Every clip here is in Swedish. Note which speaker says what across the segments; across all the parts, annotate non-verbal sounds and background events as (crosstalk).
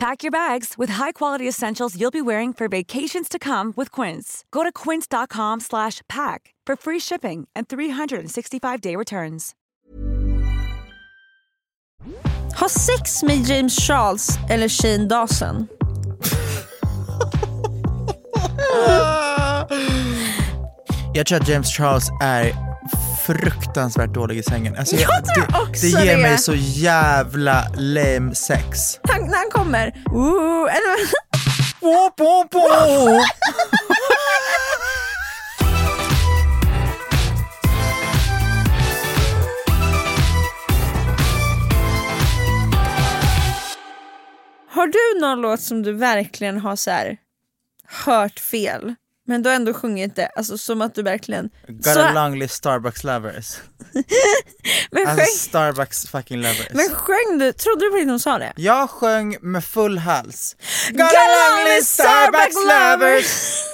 Speaker 1: Pack your bags with high-quality essentials you'll be wearing for vacations to come with Quince. Go to quince.com slash pack for free shipping and 365-day returns.
Speaker 2: Ha sex med James Charles eller Shane Dawson.
Speaker 3: Jag tror att James Charles är fruktansvärt dålig i sängen. Alltså,
Speaker 2: Jag tror
Speaker 3: det,
Speaker 2: också
Speaker 3: det. ger
Speaker 2: det.
Speaker 3: mig så jävla lame sex.
Speaker 2: Han, när han kommer. Ooh, eller,
Speaker 3: Bo, bo, bo.
Speaker 2: (laughs) har du någon låt som du verkligen har så här, hört fel? Men du har ändå sjungit det, alltså som att du verkligen...
Speaker 3: Got a
Speaker 2: Så,
Speaker 3: long list Starbucks lovers.
Speaker 2: men, sjöng,
Speaker 3: Alltså Starbucks fucking lovers.
Speaker 2: men sjöng du, trodde du på riktigt hon sa det?
Speaker 3: Jag sjöng med full hals. Got a
Speaker 2: Galang
Speaker 3: long list Starbucks lovers.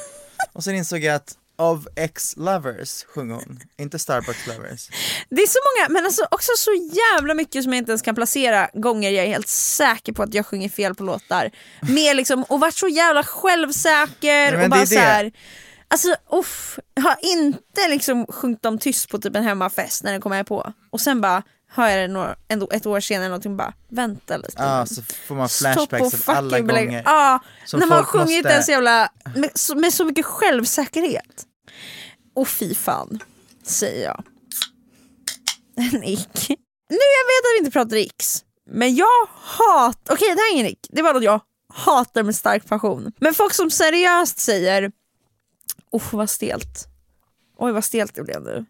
Speaker 3: (laughs) Och sen insåg jag att of ex lovers sjöng hon, inte Starbucks lovers.
Speaker 2: Det är så många, men alltså också så jävla mycket som jag inte ens kan placera gånger jag är helt säker på att jag sjunger fel på låtar. Med liksom, och varit så jävla självsäker
Speaker 3: men det är
Speaker 2: och bara
Speaker 3: det.
Speaker 2: så här. Alltså uff, jag har inte liksom sjungit dem tyst på typ en hemmafest när den kommer jag på. Och sen bara hör jag det några, ändå ett år senare någonting och bara vänta lite.
Speaker 3: Ja, Ah, så får man
Speaker 2: Stopp och
Speaker 3: flashbacks av alla
Speaker 2: fucking belägg.
Speaker 3: gånger.
Speaker 2: Ja,
Speaker 3: Som
Speaker 2: när man har
Speaker 3: folk
Speaker 2: sjungit
Speaker 3: måste-
Speaker 2: en så jävla, med, så- med så mycket självsäkerhet. Och fy fan, säger jag. (laughs) Nick. Nu jag vet att vi inte pratar X, men jag hatar, okej det här är ingen Nick, det var något jag hatar med stark passion. Men folk som seriöst säger, usch vad stelt. Oj vad stelt det blev nu.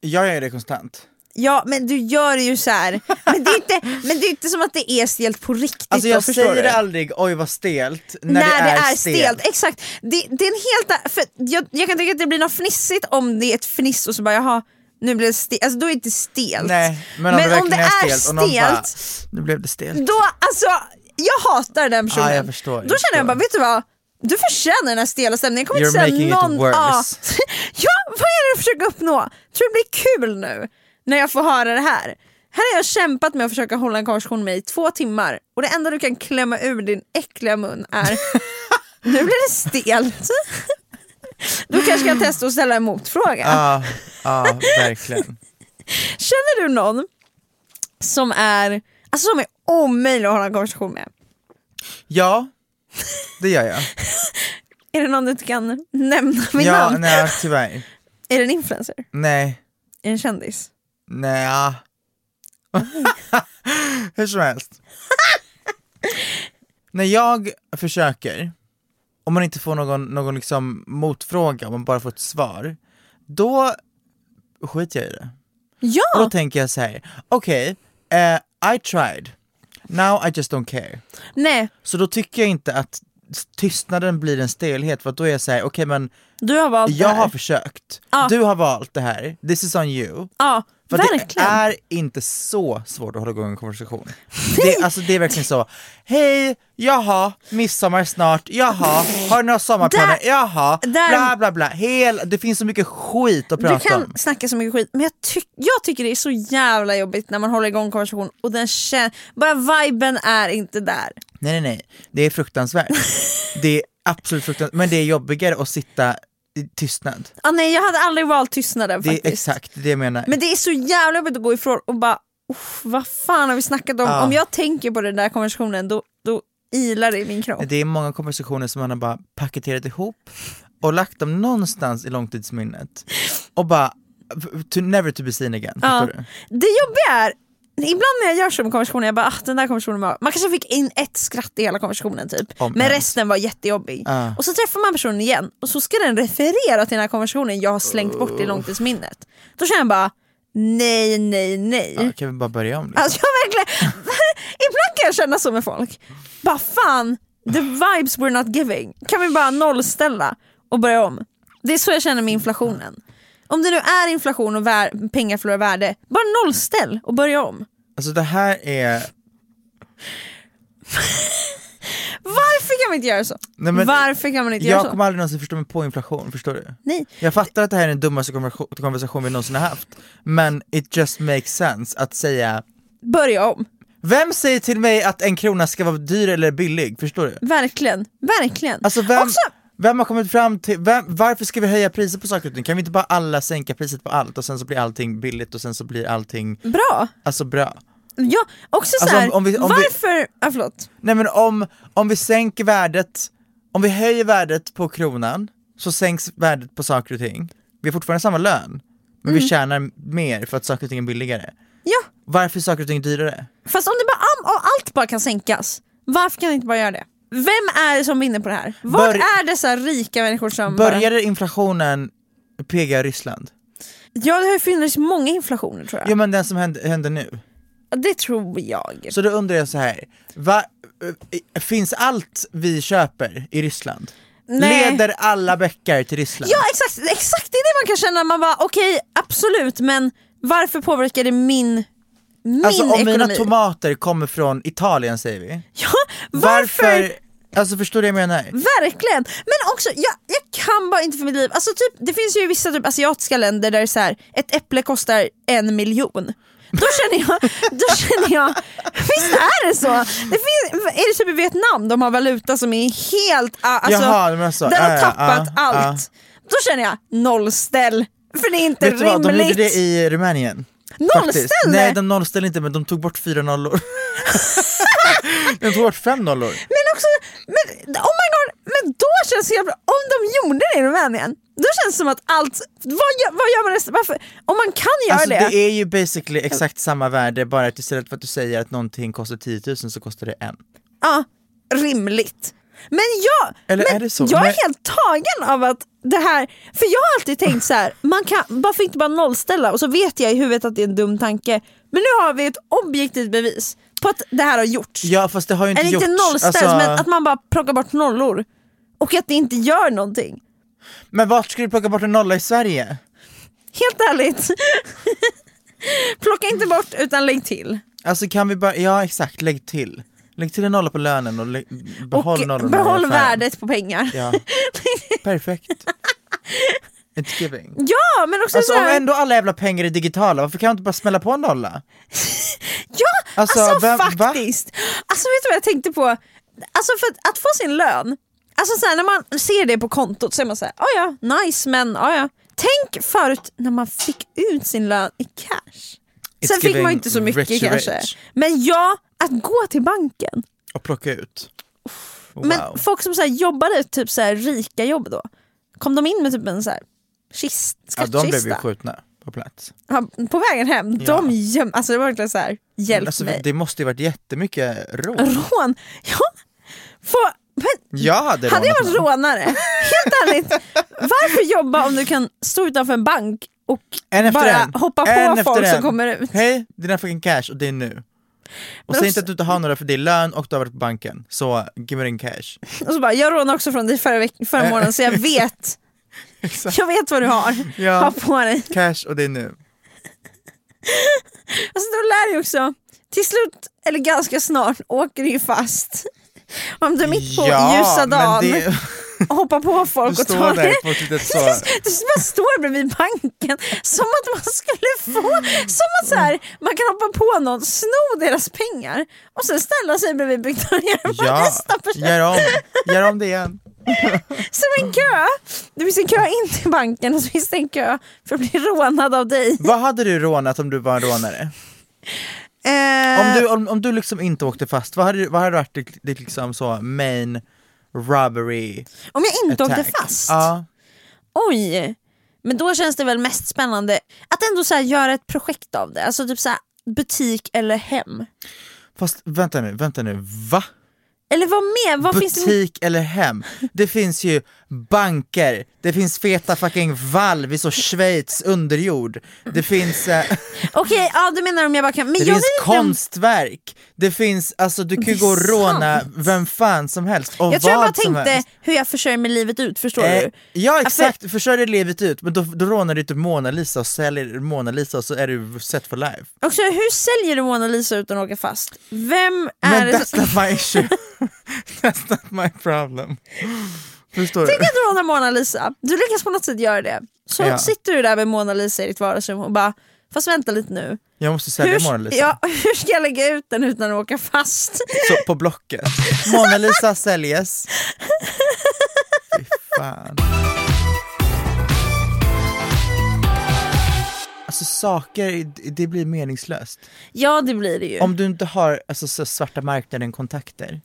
Speaker 3: Jag gör det konstant.
Speaker 2: Ja men du gör det ju så här. men det är inte, men det är inte som att det är stelt på riktigt
Speaker 3: Alltså
Speaker 2: då,
Speaker 3: jag
Speaker 2: förstår
Speaker 3: säger
Speaker 2: du?
Speaker 3: aldrig oj vad stelt när,
Speaker 2: när, det, är, stelt. Exakt. Det, det är en helt... För jag, jag kan tycka att det blir något fnissigt om det är ett fniss och så bara jaha, nu blir det stelt. Alltså då är det inte stelt.
Speaker 3: Nej, men om det verkligen är stelt, och någon bara, nu blev det stelt.
Speaker 2: då alltså, jag hatar den personen.
Speaker 3: Ja, jag förstår, jag
Speaker 2: då känner jag bara,
Speaker 3: förstår.
Speaker 2: vet du vad? Du förtjänar den här stela stämningen. Jag kommer
Speaker 3: You're
Speaker 2: inte
Speaker 3: making it
Speaker 2: säga någon... Ja. (laughs)
Speaker 3: worse.
Speaker 2: ja, vad är det du försöker uppnå? Tror du det blir kul nu när jag får höra det här? Här har jag kämpat med att försöka hålla en konversation med i två timmar och det enda du kan klämma ur din äckliga mun
Speaker 3: (laughs)
Speaker 2: är nu blir det stelt. Du kanske kan testa att ställa en motfråga.
Speaker 3: Ja, ja verkligen.
Speaker 2: Känner du någon som är, alltså som är omöjlig att hålla en konversation med?
Speaker 3: Ja, det gör (laughs) jag.
Speaker 2: Är det någon du inte kan nämna med
Speaker 3: ja,
Speaker 2: namn?
Speaker 3: nej tyvärr.
Speaker 2: Är det en influencer?
Speaker 3: Nej,
Speaker 2: Är det en kändis?
Speaker 3: nej. (laughs) ja. Hur som helst. När jag försöker, om man inte får någon, någon liksom motfråga, om man bara får ett svar, då skiter jag i det. Och då
Speaker 2: Ja!
Speaker 3: tänker jag så här, okej, eh, I tried, now I just don't care.
Speaker 2: Nej,
Speaker 3: Så då tycker jag inte att tystnaden blir en stelhet för att då är jag såhär, okej men
Speaker 2: Du har valt det
Speaker 3: jag
Speaker 2: här.
Speaker 3: har försökt, du har valt det här, this is on you.
Speaker 2: Ja,
Speaker 3: För att det
Speaker 2: verkligen.
Speaker 3: är inte så svårt att hålla igång en konversation. Det, alltså det är verkligen så, hej, jaha, midsommar snart, jaha, har du några sommarplaner,
Speaker 2: Där-
Speaker 3: jaha,
Speaker 2: där-
Speaker 3: bla bla bla. Hel, det finns så mycket skit att
Speaker 2: Du
Speaker 3: prata om.
Speaker 2: kan snacka så mycket skit, men jag, ty- jag tycker det är så jävla jobbigt när man håller igång konversation och den känns... Bara viben är inte där.
Speaker 3: Nej nej nej, det
Speaker 2: (laughs)
Speaker 3: är fruktansvärt. det är absolut fruktansvärt, men det är jobbigare att sitta i tystnad.
Speaker 2: Ah, nej, jag hade aldrig valt tystnaden
Speaker 3: Det är
Speaker 2: faktiskt.
Speaker 3: exakt det jag menar.
Speaker 2: Men det är så jävla jobbigt att gå ifrån och bara "Uff, vad fan har vi snackat om?
Speaker 3: Ja.
Speaker 2: Om jag tänker på den där konversationen då, då ilar det i min kropp.
Speaker 3: Det är många konversationer som man har bara paketerat ihop och lagt dem någonstans i långtidsminnet och bara to never to be seen again.
Speaker 2: Ja.
Speaker 3: Förstår du?
Speaker 2: Det jobbiga är, ibland när jag gör så med konversationer, jag bara ah, den där konversationen var... Man kanske fick in ett skratt i hela konversationen typ,
Speaker 3: Om
Speaker 2: men
Speaker 3: ens.
Speaker 2: resten var jättejobbig.
Speaker 3: Ja.
Speaker 2: Och så träffar man personen igen och så ska den referera till den här konversationen jag har slängt bort i långtidsminnet. Då känner jag bara nej, nej, nej.
Speaker 3: Ja, kan vi bara börja om? Liksom?
Speaker 2: Mm. Alltså jag verkligen, (laughs) ibland kan jag känna så med folk. Bara fan, the vibes we're not giving. Kan vi bara nollställa och börja om? Det är så jag känner med inflationen. Om det nu är inflation och vär- pengar förlorar värde, bara nollställ och börja om.
Speaker 3: Alltså det här är...
Speaker 2: Varför kan vi inte göra så?
Speaker 3: Nej, men-
Speaker 2: Varför kan man inte göra
Speaker 3: Jag
Speaker 2: så?
Speaker 3: kommer aldrig någonsin förstå mig på inflation, förstår du?
Speaker 2: Nej.
Speaker 3: Jag fattar att det här är den dummaste konversa- konversation vi någonsin har haft, men it just makes sense att säga
Speaker 2: Börja om.
Speaker 3: Vem säger till mig att en krona ska vara dyr eller billig? Förstår du?
Speaker 2: Verkligen. Verkligen.
Speaker 3: Alltså vem,
Speaker 2: Också,
Speaker 3: vem har kommit fram till, vem, varför ska vi höja priser på saker och ting? Kan vi inte bara alla sänka priset på allt och sen så blir allting billigt och sen så blir allting
Speaker 2: bra.
Speaker 3: alltså bra?
Speaker 2: Ja, också
Speaker 3: Alltså,
Speaker 2: såhär,
Speaker 3: om- om vi- om vi-
Speaker 2: varför... Ja, förlåt.
Speaker 3: Nej men om, om vi sänker värdet, om vi höjer värdet på kronan så sänks värdet på saker och ting. Vi har fortfarande samma lön, men vi tjänar mer för att saker och ting är billigare.
Speaker 2: Ja,
Speaker 3: Varför är saker och ting dyrare?
Speaker 2: Fast om, det bara, om, om allt bara kan sänkas, varför kan vi inte bara göra det? Vem är det som vinner på det här? Vad
Speaker 3: Bör-
Speaker 2: är dessa rika människor som... Bara...
Speaker 3: Började inflationen PGA Ryssland?
Speaker 2: Ja, det har ju funnits många inflationer tror jag.
Speaker 3: Ja men den som hände, hände nu.
Speaker 2: Det tror jag.
Speaker 3: Så då undrar jag så här, va, eh, finns allt vi köper i Ryssland?
Speaker 2: Nej.
Speaker 3: Leder alla bäckar till Ryssland?
Speaker 2: Ja, exakt, exakt! Det är det man kan känna. Man bara, okej, absolut, men varför påverkar det min, min
Speaker 3: alltså om
Speaker 2: ekonomi?
Speaker 3: mina tomater kommer från Italien säger vi.
Speaker 2: ja, varför?
Speaker 3: Alltså förstår du vad jag menar?
Speaker 2: Verkligen! Men också, jag, jag kan bara inte för mitt liv. Alltså, typ, det finns ju vissa typ, asiatiska länder där det är så här, ett äpple kostar en miljon. Då känner jag, då känner jag visst är det så? Det finns, är det typ i Vietnam de har valuta som är helt, ah, alltså,
Speaker 3: Jaha, du menar så.
Speaker 2: den har
Speaker 3: Ja, ja,
Speaker 2: tappat
Speaker 3: ja,
Speaker 2: allt. Då känner jag nollställ, för det är inte
Speaker 3: Vet du vad, de gjorde
Speaker 2: rimligt.
Speaker 3: det i Rumänien.
Speaker 2: Nollställde?
Speaker 3: Faktiskt. Nej de nollställde inte men de tog bort
Speaker 2: (laughs)
Speaker 3: fyra nollor. de tog bort fem nollor.
Speaker 2: Men också, men, oh my god, men då känns det jävla, om de gjorde det i Rumänien, då känns det som att allt, vad, gör- vad gör man resten, varför, om man kan göra
Speaker 3: Alltså
Speaker 2: det,
Speaker 3: det är ju basically exakt samma värde bara att istället för att du säger att någonting kostar 10 000 så kostar det en.
Speaker 2: ja, rimligt. Men jag,
Speaker 3: Eller
Speaker 2: men
Speaker 3: är det så?
Speaker 2: jag
Speaker 3: Men-
Speaker 2: är helt tagen av att det här, för jag har alltid tänkt så här, man kan, varför inte bara nollställa och så vet jag i huvudet att det är en dum tanke, men nu har vi ett objektivt bevis på att det här har gjorts.
Speaker 3: Ja fast det har ju inte
Speaker 2: Eller
Speaker 3: gjorts.
Speaker 2: inte nollställs,
Speaker 3: Alltså-
Speaker 2: men att man bara plockar bort nollor och att det inte gör någonting.
Speaker 3: Men vart ska du plocka bort en nolla i Sverige?
Speaker 2: Helt ärligt. (laughs) Plocka inte bort utan lägg till.
Speaker 3: Alltså kan vi bara, ja exakt, lägg till. Lägg till en nolla på lönen och lä- behåll
Speaker 2: och
Speaker 3: nollan i
Speaker 2: behåll
Speaker 3: affären.
Speaker 2: värdet på pengar.
Speaker 3: Ja. Perfekt. It's giving.
Speaker 2: (laughs) Ja, men också
Speaker 3: Alltså
Speaker 2: så
Speaker 3: om
Speaker 2: här,
Speaker 3: ändå alla jävla pengar är digitala, varför kan jag inte bara smälla på en nolla?
Speaker 2: Ja,
Speaker 3: Alltså,
Speaker 2: alltså,
Speaker 3: vem- va?
Speaker 2: faktiskt. Alltså vet du vad jag tänkte på? Alltså för att, att få sin lön, alltså så här, när man ser det på kontot så är man såhär, oh ja, nice men oh ja. Tänk förut när man fick ut sin lön i cash.
Speaker 3: It's
Speaker 2: Sen fick man
Speaker 3: giving
Speaker 2: ju inte så mycket
Speaker 3: rich,
Speaker 2: kanske.
Speaker 3: rich.
Speaker 2: Men ja, att gå till banken.
Speaker 3: Och plocka ut. Wow.
Speaker 2: Men folk som så här jobbade typ så här rika jobb då, kom de in med typ en så här kist,
Speaker 3: ja, de blev ju
Speaker 2: skattkista?
Speaker 3: skjutna på plats.
Speaker 2: Ja, på vägen hem, de göm, alltså det var verkligen så här hjälp
Speaker 3: Alltså,
Speaker 2: mig.
Speaker 3: det måste ju varit jättemycket rån.
Speaker 2: Rån, (laughs) ja. Få- men,
Speaker 3: Jag hade,
Speaker 2: hade jag
Speaker 3: rånat
Speaker 2: varit
Speaker 3: någon.
Speaker 2: rånare, (laughs) helt ärligt, varför jobba om du kan stå utanför en bank och
Speaker 3: En efter
Speaker 2: bara
Speaker 3: en.
Speaker 2: hoppa på
Speaker 3: en efter
Speaker 2: folk som
Speaker 3: en.
Speaker 2: kommer ut?
Speaker 3: Hej, dina fucking cash och det är nu. Och säg inte att du inte har några för det är lön och du har varit på banken. Så give me in cash.
Speaker 2: Och så bara, jag rånade också från dig förra, veck-
Speaker 3: Eh.
Speaker 2: förra månaden så
Speaker 3: (laughs)
Speaker 2: jag vet. jag vet vad du har.
Speaker 3: Ja.
Speaker 2: Ha på dig.
Speaker 3: Cash och det är nu.
Speaker 2: Alltså de lär ju också, till slut eller ganska snart åker du ju fast. Om du är mitt på ljusa
Speaker 3: men
Speaker 2: dagen
Speaker 3: det-
Speaker 2: och hoppar på folk
Speaker 3: Du
Speaker 2: och
Speaker 3: står
Speaker 2: tar
Speaker 3: där
Speaker 2: (laughs) det.
Speaker 3: på ett litet så.
Speaker 2: Du bara står bredvid banken som att man skulle få, som att så här, man kan hoppa på någon, sno deras pengar och sen ställa sig bredvid byggnaden och göra
Speaker 3: Ja,
Speaker 2: nästa person.
Speaker 3: gör om, gör om det igen.
Speaker 2: Som en kö. Det finns en kö in till banken och så finns det en kö för att bli rånad av dig.
Speaker 3: Vad hade du rånat om du var en rånare?
Speaker 2: Eh,
Speaker 3: Om du, om, om du liksom inte åkte fast, vad hade, du- vad hade varit ditt, ditt liksom så main robbery
Speaker 2: Eh, om jag inte
Speaker 3: attack?
Speaker 2: åkte fast.
Speaker 3: Ja.
Speaker 2: Oj! Men då känns det väl mest spännande att ändå så här göra ett projekt av det. Alltså typ så här butik eller hem.
Speaker 3: Fast vänta nu, vänta nu, va?
Speaker 2: Eller vad mer? Vad finns det?
Speaker 3: Butik eller hem? Det finns ju banker, det finns feta fucking valv i så Schweiz underjord, det finns, eh,
Speaker 2: Okej, (laughs) ja du menar om jag bara kan. Men
Speaker 3: det
Speaker 2: jag
Speaker 3: finns
Speaker 2: vet inte om-
Speaker 3: konstverk, det finns, alltså du kan ju
Speaker 2: Det är
Speaker 3: gå och råna
Speaker 2: sant.
Speaker 3: vem fan som helst och
Speaker 2: Jag
Speaker 3: vad
Speaker 2: tror jag bara
Speaker 3: som
Speaker 2: tänkte
Speaker 3: helst.
Speaker 2: hur jag försörjer mig livet ut, förstår
Speaker 3: Eh,
Speaker 2: du? Alltså-
Speaker 3: ja
Speaker 2: för-
Speaker 3: exakt, försörjer livet ut, men då, då rånar du typ Mona Lisa och säljer Mona Lisa och så är du set for life.
Speaker 2: Också hur säljer du Mona Lisa utan att åka fast? Vem är
Speaker 3: Men
Speaker 2: det
Speaker 3: that's
Speaker 2: som...
Speaker 3: not
Speaker 2: (laughs)
Speaker 3: my issue, (laughs) that's not my problem. Förstår du?
Speaker 2: Tänk att råna Mona Lisa, du lyckas på något sätt göra det. Så
Speaker 3: Ja.
Speaker 2: sitter du där med Mona Lisa i ditt vardagsrum och bara, fast vänta lite nu.
Speaker 3: Jag måste sälja Mona
Speaker 2: Hur,
Speaker 3: Lisa.
Speaker 2: ja, (laughs) hur ska jag lägga ut den utan att åka fast?
Speaker 3: Så på Blocket. Mona Lisa säljes. Fy fan. Alltså saker, det blir meningslöst.
Speaker 2: Ja det blir det ju.
Speaker 3: Om du inte har alltså, så svarta marknaden kontakter.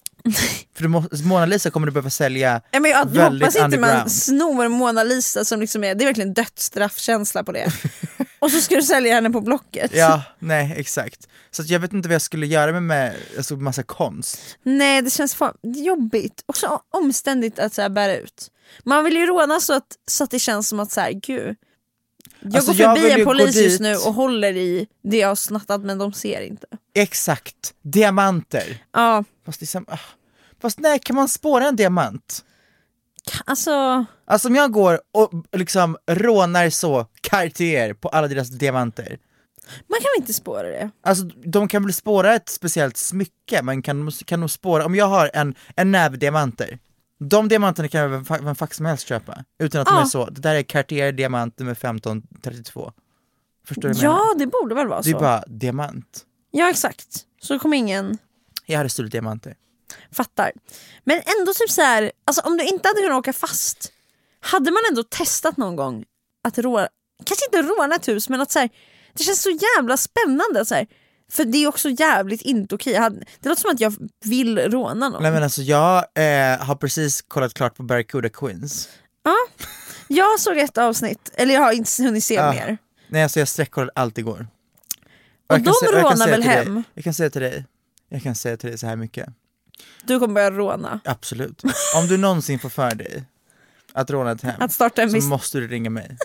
Speaker 3: För du må, Mona Lisa kommer du behöva sälja
Speaker 2: Ja, men jag jag
Speaker 3: väldigt
Speaker 2: hoppas inte man
Speaker 3: underground.
Speaker 2: snor Mona Lisa som liksom är, det är verkligen dödsstraffkänsla på
Speaker 3: (laughs)
Speaker 2: det. och så ska du sälja henne på Blocket.
Speaker 3: Ja, nej exakt. Så att jag vet inte vad jag skulle göra med, med alltså, massa konst.
Speaker 2: Nej det känns fan jobbigt och så omständigt att så här bära ut. Man vill ju råna så att, så att det känns som att så här, gud. Jag
Speaker 3: Alltså,
Speaker 2: går
Speaker 3: jag vill
Speaker 2: förbi
Speaker 3: ju
Speaker 2: en
Speaker 3: gå
Speaker 2: polis
Speaker 3: dit.
Speaker 2: just nu och håller i det jag har snattat men de ser inte.
Speaker 3: Exakt, diamanter.
Speaker 2: Ja,
Speaker 3: Fast, det är sam- ah. Fast nej, kan man spåra en diamant?
Speaker 2: alltså
Speaker 3: Alltså om jag går och liksom rånar så Cartier på alla deras diamanter.
Speaker 2: man kan väl inte spåra det?
Speaker 3: Alltså de kan väl spåra ett speciellt smycke, men kan, kan de spåra, om jag har en, en näve diamanter, de diamanterna kan vem, fa- vem fuck som helst köpa. Utan att de
Speaker 2: Ja.
Speaker 3: är så, det där är Cartier diamant nummer 1532. Förstår du vad jag menar?
Speaker 2: Ja det borde väl vara
Speaker 3: Det är
Speaker 2: så.
Speaker 3: bara diamant.
Speaker 2: Ja exakt, så kommer ingen
Speaker 3: Jag hade stulit diamanter.
Speaker 2: Fattar. Men ändå typ så här, alltså om du inte hade kunnat åka fast, hade man ändå testat någon gång att råna, kanske inte råna ett hus men att så här, det känns så jävla spännande. att Så här, för det är också jävligt inte okej. Jag hade- Det låter som att jag vill råna någon.
Speaker 3: Nej men alltså jag eh, har precis kollat klart på Barracuda Queens.
Speaker 2: Jag såg ett avsnitt, eller jag har inte hunnit se
Speaker 3: Ja.
Speaker 2: mer.
Speaker 3: Nej alltså jag sträckkollade allt igår.
Speaker 2: Och
Speaker 3: jag kan
Speaker 2: de
Speaker 3: sä- och jag kan
Speaker 2: rånar
Speaker 3: säga
Speaker 2: väl
Speaker 3: till dig-
Speaker 2: hem?
Speaker 3: Jag kan säga till dig, jag kan säga till dig så här mycket,
Speaker 2: Du kommer börja råna.
Speaker 3: absolut. Om du någonsin får för dig att råna ett hem
Speaker 2: Att starta en
Speaker 3: så
Speaker 2: viss...
Speaker 3: måste du ringa mig.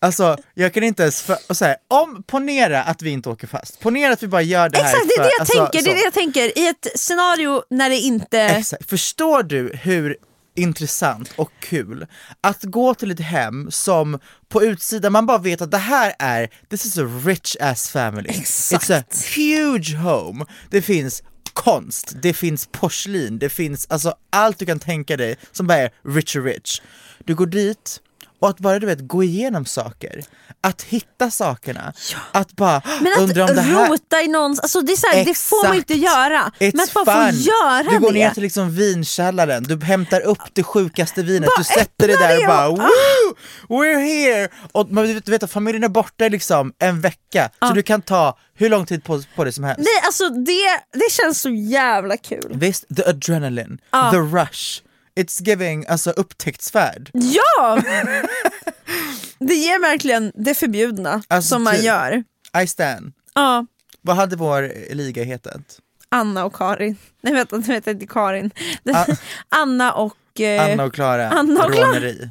Speaker 3: Alltså jag kan inte ens, för, och så här, om, ponera att vi inte åker fast, ponera att vi bara gör det här
Speaker 2: Exakt, det är
Speaker 3: för,
Speaker 2: det jag
Speaker 3: alltså,
Speaker 2: tänker. Det är
Speaker 3: så.
Speaker 2: det jag tänker. I ett scenario när det inte...
Speaker 3: Exakt. Förstår du hur intressant och kul att gå till ett hem som på utsidan man bara vet att det här är, this is a rich ass family.
Speaker 2: Exakt.
Speaker 3: It's a huge home. Det finns konst, det finns porslin, det finns alltså allt du kan tänka dig som bara är rich och rich. Du går dit och att bara du vet gå igenom saker, att hitta sakerna, att bara
Speaker 2: Men att
Speaker 3: undra om det här...
Speaker 2: rota i någons, alltså det, är så här, det får man inte göra.
Speaker 3: It's
Speaker 2: men att bara få
Speaker 3: fun.
Speaker 2: göra
Speaker 3: Du går
Speaker 2: det.
Speaker 3: ner till liksom vinkällaren, du hämtar upp det sjukaste vinet,
Speaker 2: Bara
Speaker 3: du sätter dig
Speaker 2: öppna
Speaker 3: där
Speaker 2: det
Speaker 3: och bara
Speaker 2: och-
Speaker 3: Woo! We're here! Och man, du vet- du vet att familjen är borta i liksom en vecka,
Speaker 2: Ah.
Speaker 3: så du kan ta hur lång tid på, på det som helst.
Speaker 2: Nej alltså det, det känns så jävla kul.
Speaker 3: Visst, the adrenaline,
Speaker 2: Ah.
Speaker 3: the rush, it's giving alltså upptäcktsfärd.
Speaker 2: Ja! (laughs) det ger verkligen det förbjudna
Speaker 3: Alltså,
Speaker 2: som man
Speaker 3: typ.
Speaker 2: gör.
Speaker 3: I stand.
Speaker 2: Ja,
Speaker 3: Vad hade vår eh, liga hetat?
Speaker 2: Anna och Karin. Nej vänta, nu heter inte Karin. Det- (laughs) Anna och... Eh,
Speaker 3: Ah. Anna och Klara,
Speaker 2: Anna och Klara.
Speaker 3: råneri,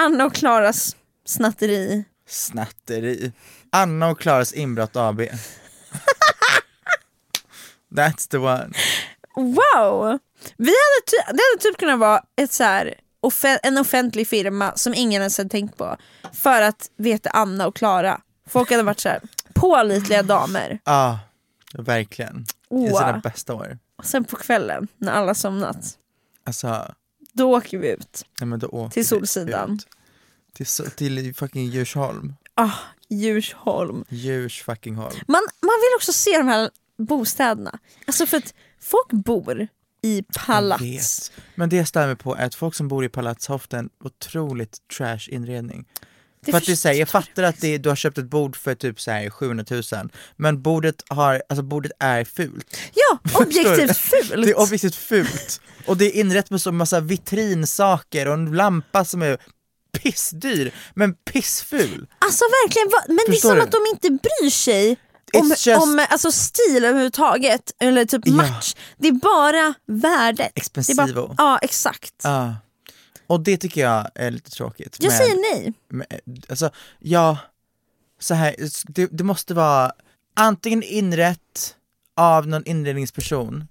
Speaker 2: Anna och Klaras snatteri. (laughs)
Speaker 3: snatteri. Anna och Klaras inbrott AB. That's the one.
Speaker 2: Wow! Vi hade ty- det hade typ kunnat vara ett så här, offe- en offentlig firma som ingen ens hade tänkt på. För att veta Anna och Klara. Folk hade varit så här, pålitliga damer.
Speaker 3: Ja, verkligen. I
Speaker 2: Åh.
Speaker 3: sina bästa år.
Speaker 2: Och sen på kvällen när alla somnat,
Speaker 3: Alltså,
Speaker 2: då åker vi ut.
Speaker 3: nej men då åker
Speaker 2: Till
Speaker 3: vi
Speaker 2: Solsidan.
Speaker 3: ut. Till, so- till fucking Djursholm.
Speaker 2: Ah, Djursholm.
Speaker 3: Djurs fucking holm.
Speaker 2: Man, man vill också se de här bostäderna. Alltså för att folk bor i palats.
Speaker 3: Vet. Men det jag stämmer på är att folk som bor i palats har ofta en otroligt trash inredning. för att det är så här, jag fattar att det, är- du har köpt ett bord för typ så här 700 000 men bordet, har, alltså bordet är fult. (laughs)
Speaker 2: Ja, objektivt fult!
Speaker 3: Det är objektivt fult. Och det är inrett med så massa vitrinsaker och en lampa som är pissdyr men pissful.
Speaker 2: Alltså verkligen, va- men det är
Speaker 3: Förstår
Speaker 2: som
Speaker 3: du?
Speaker 2: att de inte bryr sig om,
Speaker 3: It's just-
Speaker 2: om alltså, stil överhuvudtaget, eller typ
Speaker 3: Ja.
Speaker 2: match. Det är bara värdet. Det är
Speaker 3: Expensivo.
Speaker 2: bara, ja, exakt.
Speaker 3: Ja. Och det tycker jag är lite tråkigt.
Speaker 2: Jag
Speaker 3: men-
Speaker 2: säger nej.
Speaker 3: Men, alltså, ja, så här, det, det måste vara antingen inrätt av någon inredningsperson,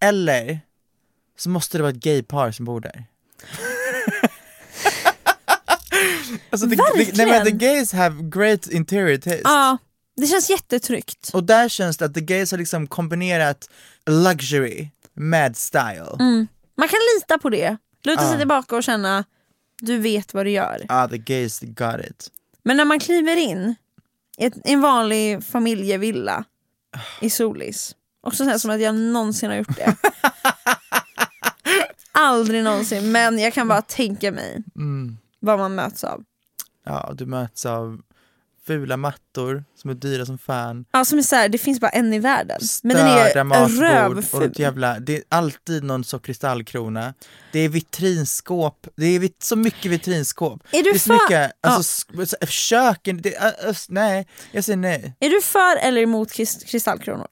Speaker 3: eller så måste det vara ett gaypar som bor där. (laughs) alltså, the, the, nej, men the
Speaker 2: Verkligen.
Speaker 3: gays have great interior taste.
Speaker 2: Ja, det känns jättetryggt.
Speaker 3: Och där känns det att the gays har liksom kombinerat luxury med style.
Speaker 2: Mm. Man kan lita på det. Luta sig tillbaka och känna du vet vad du gör.
Speaker 3: Ah, the gays got it.
Speaker 2: Men när man kliver in i ett, i en vanlig familjevilla i Solis, också så här som att jag någonsin har gjort
Speaker 3: (laughs)
Speaker 2: det. Aldrig någonsin, men jag kan bara tänka mig
Speaker 3: Mm.
Speaker 2: vad man möts av.
Speaker 3: Ja, och du möts av fula mattor som är dyra som fan.
Speaker 2: Ja, som är så här, det finns bara en i världen. Men den är
Speaker 3: Störda matbord och
Speaker 2: rövful.
Speaker 3: ett jävla, det är alltid någon så kristallkrona. Det är vitrinskåp, det är vit, så mycket vitrinskåp.
Speaker 2: Är du
Speaker 3: det är så
Speaker 2: fan-
Speaker 3: mycket, alltså sk- så- köken, det, äh, ös- nej, jag säger nej.
Speaker 2: Är du för eller emot krist- kristallkronor?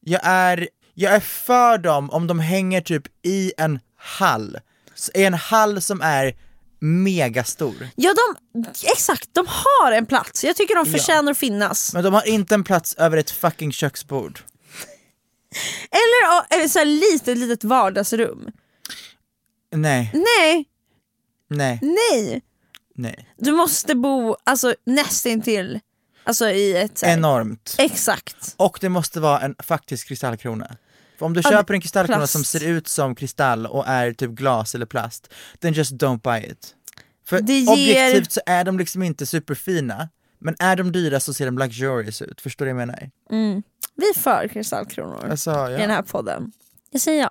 Speaker 3: Jag är, jag är för dem om de hänger typ i en hall, S- i en hall som är megastor.
Speaker 2: Ja, de, exakt. De har en plats. Jag tycker de förtjänar att finnas.
Speaker 3: Men de har inte en plats över ett fucking köksbord.
Speaker 2: Eller ja, eller så här litet, litet vardagsrum.
Speaker 3: Nej,
Speaker 2: Nej,
Speaker 3: nej,
Speaker 2: nej.
Speaker 3: nej.
Speaker 2: Du måste bo alltså, nästintill alltså, i ett... så här-
Speaker 3: Enormt.
Speaker 2: Exakt.
Speaker 3: Och det måste vara en faktisk kristallkrona. För om du
Speaker 2: Ja,
Speaker 3: köper
Speaker 2: men
Speaker 3: en kristallkrona
Speaker 2: plast.
Speaker 3: som ser ut som kristall och är typ glas eller plast, then just don't buy it. För
Speaker 2: Det ger-
Speaker 3: objektivt så är de liksom inte superfina, men är de dyra så ser de luxurious ut. Förstår du vad jag menar?
Speaker 2: Vi är för kristallkronor
Speaker 3: Alltså,
Speaker 2: i den
Speaker 3: ja,
Speaker 2: här podden. Jag säger ja.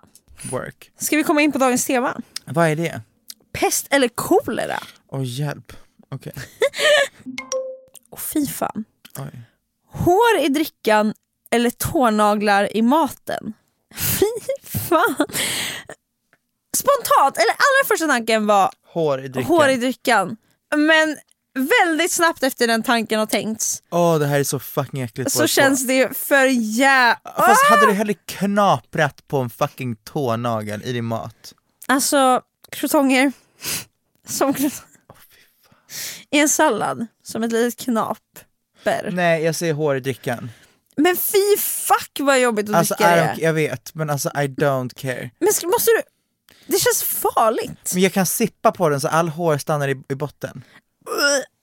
Speaker 3: work.
Speaker 2: Ska vi komma in på dagens tema?
Speaker 3: Vad är det?
Speaker 2: Pest eller kolera?
Speaker 3: Åh hjälp. (laughs) Okej.
Speaker 2: Åh fy fan.
Speaker 3: Oj.
Speaker 2: Hår i drickan eller tånaglar i maten? (laughs) Fy fan. Spontant, eller allra första tanken var
Speaker 3: Hår i drickan.
Speaker 2: hår i drickan. Men väldigt snabbt efter den tanken har tänkts
Speaker 3: Åh det här är så fucking äckligt.
Speaker 2: så
Speaker 3: båda två.
Speaker 2: känns Ah! det för jä...
Speaker 3: Fast hade du hellre knaprat på en fucking tånagel i
Speaker 2: (laughs)
Speaker 3: din mat?
Speaker 2: Alltså krutonger (laughs) som krut- i en sallad som ett litet knaper.
Speaker 3: Nej, jag säger hår i drickan.
Speaker 2: Men fy fuck vad jobbigt att
Speaker 3: Alltså, I
Speaker 2: dricka
Speaker 3: don't,
Speaker 2: det.
Speaker 3: jag vet, men alltså I don't care.
Speaker 2: Men ska, måste du... Det känns farligt.
Speaker 3: Men jag kan sippa på den så all hår stannar i, i botten.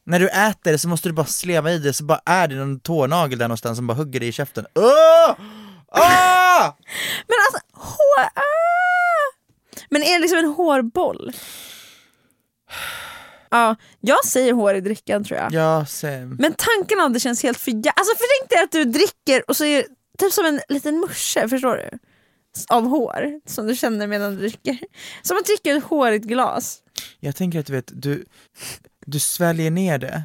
Speaker 3: När du äter det så måste du bara sleva i det så bara är det någon tånagel där någonstans som bara hugger dig i käften. Ah! Åh! Åh!
Speaker 2: Men alltså hår... Ah! Men är det liksom en hårboll? Ja, jag säger hår i drickan tror jag.
Speaker 3: Ja, same.
Speaker 2: Men tanken av det känns helt för jä- Alltså för tänk dig att du dricker och så är det typ som en liten musche, förstår du? S- Av hår som du känner medan du dricker. Som att dricka ett hårigt glas.
Speaker 3: Jag tänker att du vet, du, du sväljer ner det.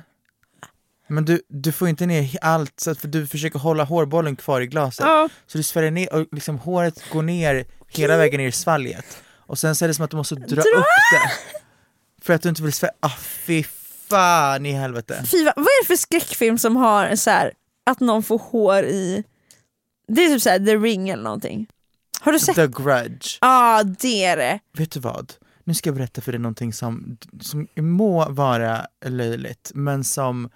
Speaker 3: Men du, du får inte ner he- allt, så att, för du försöker hålla hårbollen kvar i glaset.
Speaker 2: Ja.
Speaker 3: Så du sväljer ner och liksom håret går ner hela vägen ner i svalget. Och sen så är det som att du måste dra, upp det. För att du inte vill svälja. Ah, fy fan i helvete.
Speaker 2: Fy, vad, vad är det för skräckfilm som har en så här att någon får hår i... Det är typ så här The Ring eller någonting. Har du sett? Ja,
Speaker 3: The grudge.
Speaker 2: ah, det är det.
Speaker 3: Vet du vad? Nu ska jag berätta för dig någonting som, som må vara löjligt, men som...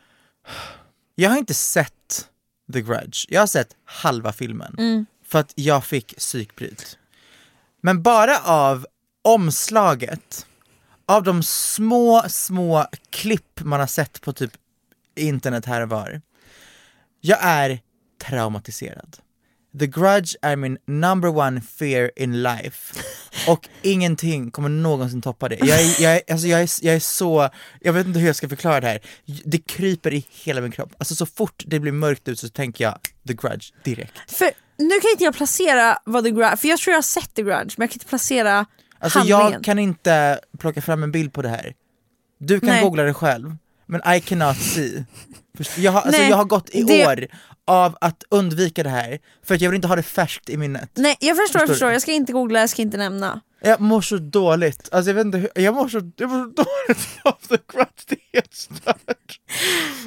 Speaker 3: Jag har inte sett The Grudge. Jag har sett halva filmen. För att jag fick psykbryt. Men bara av omslaget, av de små, små klipp man har sett på typ internet här och var. Jag är traumatiserad. The Grudge är min number one fear in life. Och ingenting kommer någonsin toppa det. Jag är, jag, är, alltså jag, är, jag är så, jag vet inte hur jag ska förklara det här. Det kryper i hela min kropp. Alltså så fort det blir mörkt ut så tänker jag The Grudge direkt.
Speaker 2: För nu kan inte jag placera vad The Grudge, för jag tror jag har sett The Grudge men jag kan inte placera
Speaker 3: Alltså
Speaker 2: handlingen.
Speaker 3: jag kan inte plocka fram en bild på det här. Du kan
Speaker 2: Nej.
Speaker 3: googla det själv, men I cannot see. Först- Jag har, alltså
Speaker 2: Nej,
Speaker 3: jag har gått i
Speaker 2: det-
Speaker 3: år av att undvika det här, för att jag vill inte ha det färskt i minnet.
Speaker 2: Nej jag förstår, jag
Speaker 3: Förstår
Speaker 2: förstår,
Speaker 3: du?
Speaker 2: jag ska inte googla, jag ska inte nämna.
Speaker 3: Jag mår så dåligt, alltså jag vet inte hur, jag mår så, jag mår så (laughs) dåligt av The Grudge, det är helt stört.